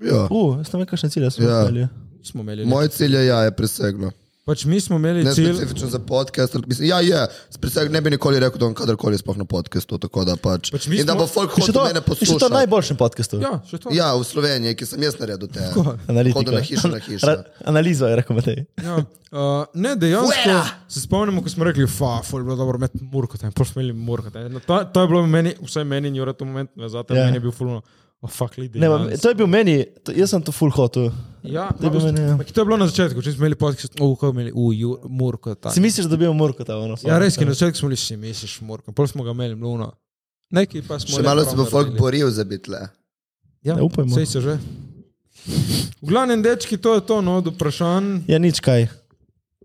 D: Ja.
A: U, jaz ne vem, kakšne cilje smo
D: Ja.
A: imeli.
B: Smo imeli.
D: Moj cilj je, ja, je preseglo.
B: Pač mi smo imeli
D: Ne
B: cilj.
D: specifično za podcast, ampak mislim, ja, je, preseg, ne bi nikoli rekel, da bom kadarkoli sploh na podkastu, tako da pač.
B: Pač mi
D: in da
B: smo-
D: bo folk
A: In Še to,
D: hodil mene
A: in še to
D: poslušati.
A: najboljšem podkastu.
B: Ja, še to.
D: Ja, v Sloveniji, ki sem jaz naredil te. Hodil
A: Analitika.
D: na hišo, na hišo.
A: Ra- Analizo je rekel Matej.
B: Ja, uh, ne, dejansko se spomnimo, ko smo rekli, fa, ful je bilo dobro imeti murko tam, pa smo imeli murko tam. No, to, to je bilo meni, vsaj meni, in Jure, to moment, ne, zato
A: Ja.
B: yeah. meni je bil fulno, oh, fuck, lidi.
A: Ne, ma, to je bil meni, to, jaz sem to full hotel.
B: ja,
A: to je
B: ma,
A: bil meni, ja.
B: ma, to je bilo na začetku, če smo imeli podcast, oh, kaj imeli, uh, ju, murko tam.
A: Si misliš, da bi imel murko ta ono?
B: Ja, res, ki na začetku smo bili, si misliš, murko, pol smo ga imeli, luno. Neki pa smo.
D: Še
B: le
D: malo
B: prav
D: se bo folk
B: naredili.
D: boril za bitle.
B: Ja,
A: Ne, upajmo.
B: Sej se že. V glavnem, dečki, to je to, no, od vprašanj.
A: Ja, nič kaj.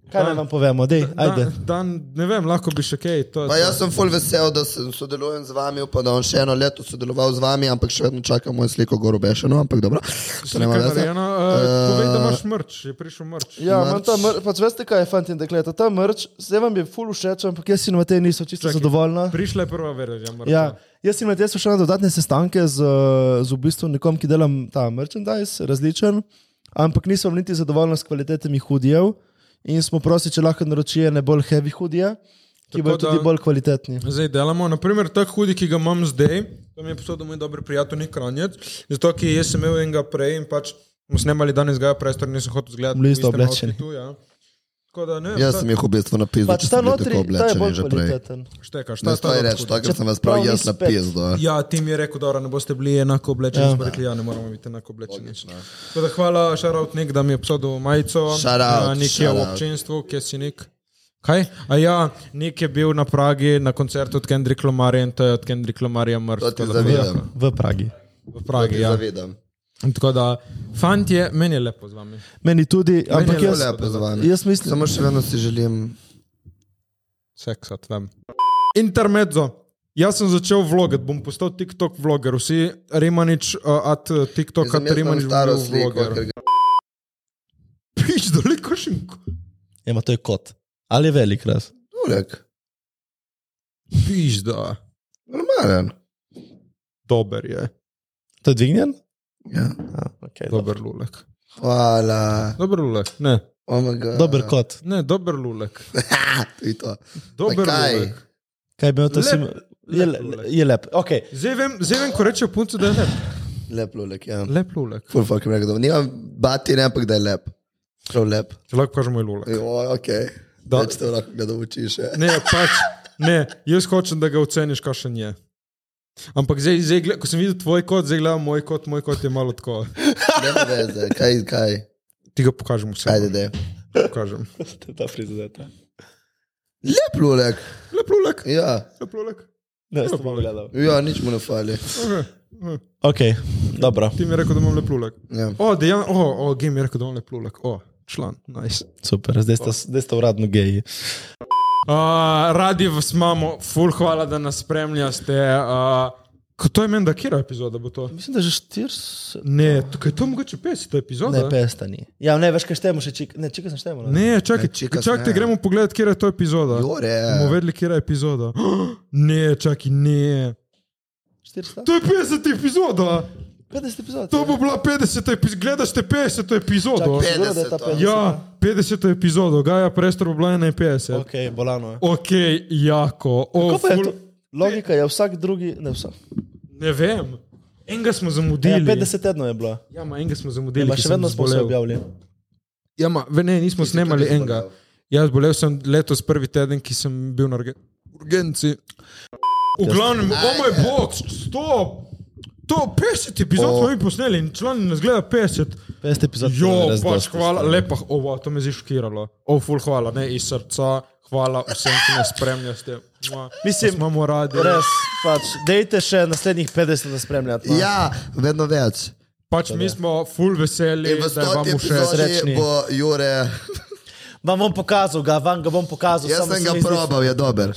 A: Kaj naj
B: Da.
A: vam povemo, dej, ajde.
B: Dan, dan, ne vem, lahko bi še kaj. To, je
D: Pa
B: to.
D: jaz sem full vesel, da sem sodelujem z vami, upam, da bom še eno leto sodeloval z vami, ampak še vedno čakam mojo sliko goro bešeno, ampak dobro. To
B: Slika
D: nema veze.
B: narejena, eh, Povej, da
D: Eh,
B: imaš mrč, je prišel mrč.
A: Ja, imam
D: Mrč.
A: ta mrč, pač veste kaj je, fanti in dekleta, ta mrč, zdaj vam je full všeč, ampak jaz in Matej niso čisto
B: Čakaj.
A: zadovoljna.
B: Prišla je prva verzija mrča.
A: Ja, jaz in Matej smo šli na dodatne sestanke z, eh, z v bistvu nekom, ki delam ta merchandise, različen, ampak nisem niti zadovoljen s kvalitetami hudijev in smo prosili, če lahko naročijo ne bolj heavy hudije, ki
B: Tako
A: bodo
B: da-
A: tudi bolj kvalitetni.
B: Zdaj delamo, naprimer, tak hudi, ki ga imam zdaj, to mi je posodil moj dober prijatelj Nik Ranjec, zato ki jaz sem imel enega prej in pač smo snemali danes ga prestor, nisem hotel zgledati.
A: Bili ste oblečeni.
B: Tu, ja. Tako da ne, vem,
D: Jaz
B: ta-
D: sem jih v bistvu napisal,
A: Pač
D: če
A: ta
D: sem bil
A: notri,
D: tako
A: ta je bolj
D: oblečen že prej.
A: kvaliteten.
B: Šteka, šta je
D: Ne
B: ta
D: stoj
B: dober
D: reči,
B: hudi?
D: to, ker sem vas
A: Čeprav
D: prav
A: ni
D: jaz
A: spet.
D: napisal.
B: Ja, tim je rekel, da ne boste bili enako oblečeni, ja. smo rekli, ja, ne moramo biti enako oblečeni.
D: ja.
B: Tako da hvala, šarovt nek, da mi je obsodil majico.
D: Shout out,
B: Ja, nek je v
D: shout out.
B: občinstvu, kje si nek. Kaj? A ja, nek je bil na Pragi na koncertu od Kendrick Lomarja in to je od Kendrick Lomarja
D: To
B: mrtev.
D: ti
B: tako da hvala.
D: zavidam.
A: V Pragi.
B: V Pragi, ja.
D: Zavidam.
B: Tako da, fantje, meni je lepo z vami.
A: Meni tudi, ampak
B: je
A: jaz,
D: Lepo z vami.
A: jaz mislim,
D: Samo še vedno si želim
B: Seksat, vem. Intermezzo. Jaz sem začel vlogati, bom postal TikTok vloger, vsi Rimanič, uh, at eh, TikTok, at Rimanič,
D: staro
B: bil
D: sliko, ker
B: vloger.
D: ga
B: Piš, doliko še.
A: Ja, ma to je kot. Ali je velik raz?
D: Turek.
B: Piš, da.
D: Normalen.
B: Dober je.
A: To je dvignjen?
D: Ja.
A: A, okay, dober.
B: Dober lulek.
D: Hvala.
B: Dober lulek. Ne,
D: Oh my God.
A: dober kot.
B: ne dober lulek.
D: Ha, to je to.
B: Dober
D: Zakaj?
B: lulek.
A: Kaj bi imel to
B: Lep-
A: sim? Je,
B: lep lulek.
A: je lep. Okay.
B: Zdaj vem, zdaj vem, ko rečejo punce, da je lep.
D: Lep lulek, ja.
B: Lep lulek.
D: Full fucking rekel, da nimam batine, ampak da je lep. Prav lep.
B: Če lahko kažemo, je lulek.
D: Joj, ok.
B: Da.
D: Da. Več te lahko ga naučiš. ja.
B: Ne, pač, ne, jaz hočem, da ga oceniš, kakšen je. Ampak zdaj, zdaj, gled- ko sem videl tvoj kot, zdaj gledam moj kot, moj kot je malo tako.
D: Ne veze, kaj, kaj.
B: Ti ga pokažem vse.
D: Ajde, da.
B: Pokažem.
A: Ta frizeta.
D: Lep lulek.
B: Lep lulek,
D: Ja.
B: lep lulek.
A: Ne, jaz to bom gledal.
D: ja, nič mu ne fali.
B: Okay. eh,
A: Ok, dobro,
B: Ti mi je rekel, da imam lep lulek.
D: Ja.
B: O, dejan, o, o, gej mi je rekel, da imam lep lulek. O, član, nice.
A: super, zdaj sta, zdaj sta uradno geji.
B: Uh, radi vas imamo, ful hvala, da nas spremljate. Uh, ko to je meni, da kera epizoda bo to?
A: Mislim, da že 40.
B: Ne, tukaj je to mogoče 50
A: Ne,
B: epizoda.
A: pesta ni. Ja, ne, veš, kaj štejemo še čik. Ne, čika sem štejemo.
B: Ne, čakaj,
D: Ne, čika,
B: čakaj,
D: ne.
B: gremo pogledat, kje je to epizoda.
D: Jore.
B: Bomo vedeli, kje je epizoda. Ne, čakaj, ne.
A: 400?
B: To je 50 epizoda,
A: 50 epizod.
B: to bo bila 50 epizoda, gledaš te 50 epizodo.
A: Čakaj, sigurno, da je ta
D: 50,
A: 50.
B: Ja, 50 epizodo, Gaja Prestor bo bila 51.
A: Ok, bolano je.
B: Ok, jako. O,
A: Kako pa je
B: ful,
A: to? Logika je vsak drugi, ne vsak.
B: ne vem. Enega smo
A: Ja,
B: zamudili.
A: 50 tednov je bilo.
B: Ja, ma, enega smo zamudili.
A: Ja,
B: ki
A: še
B: sem
A: vedno smo se
B: zbolel.
A: objavili.
B: Ja, ma, ve- ne, nismo snemali
D: tudi
B: enega. Jaz bolel sem letos prvi teden, ki sem bil na urge- urgenci. V glavnem, o moj bog, stop! To 50 epizod smo mi posneli in člani nas gleda 50.
A: 50 epizod. to je
B: Jo,
A: res
B: pač
A: dosti,
B: hvala,
A: stari.
B: lepa, ovo, to me je šokiralo. O, ful, hvala, ne iz srca, hvala vsem, ki nas spremljate. Mua,
A: Mislim,
B: vas imamo radi.
A: Res, pač, dejte še naslednjih 50, da spremljate. no.
D: Ja, vedno več.
B: Pač
A: Torej.
B: mi smo ful veseli,
D: In
A: E,
D: v
B: da je vam
D: stoti
B: všeč.
A: Srečni.
D: epizodi bo Jure.
A: Vam bom pokazal, ga, vam ga bom pokazal.
D: Jaz
A: samo
D: sem
A: se
D: ga
A: mi zdi-
D: probal, je dober.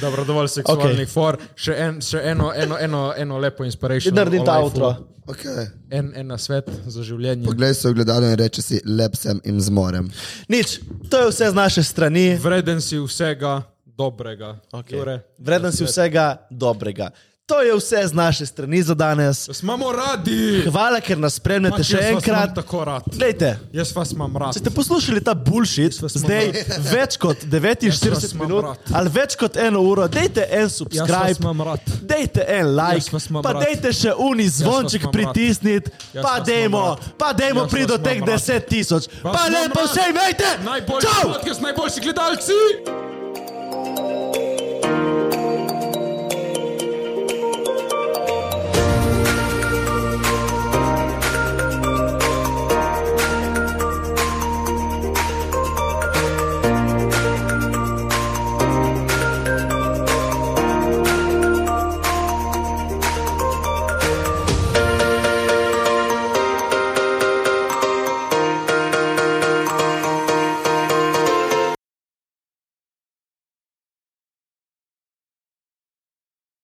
B: Dobro, dovolj seksualnih okay. for, še, en, še eno, eno, eno, eno lepo inspiracijo.
A: Naredim ta avtro.
D: Okay.
B: En, en nasvet za življenje.
D: Poglej se v gledalo in reče si, lep sem in zmorem.
A: Nič, to je vse z naše strani.
B: Vreden si vsega dobrega.
A: Okay.
B: Jure,
A: Vreden si vsega dobrega. To je vse z naše strani za danes.
B: Vas imamo radi!
A: Hvala, ker nas spremljate
B: Pač
A: še
B: jaz vas imam
A: enkrat.
B: Tako rad.
A: Glejte,
B: Jaz vas imam rad.
A: če ste poslušali ta bullshit, zdaj več kot
B: Jaz
A: 49
B: vas imam
A: minut
B: rad.
A: ali več kot eno uro, dejte en
B: Jaz vas
A: subscribe.
B: imam rad.
A: Dajte en like,
B: Jaz vas imam
A: pa
B: rad.
A: dajte še uni zvonček
B: imam rad.
A: pritisniti,
B: Jaz
A: pa
B: vas imam
A: dajmo,
B: rad.
A: pa dajmo
B: Jaz
A: priti do
B: vas
A: teh
B: imam rad.
A: 10 tisoč.
B: Vas
A: Pa
B: imam
A: lepo
B: rad.
A: vse imejte!
B: Najboljši
A: Čau!
B: podcast, najboljši gledalci!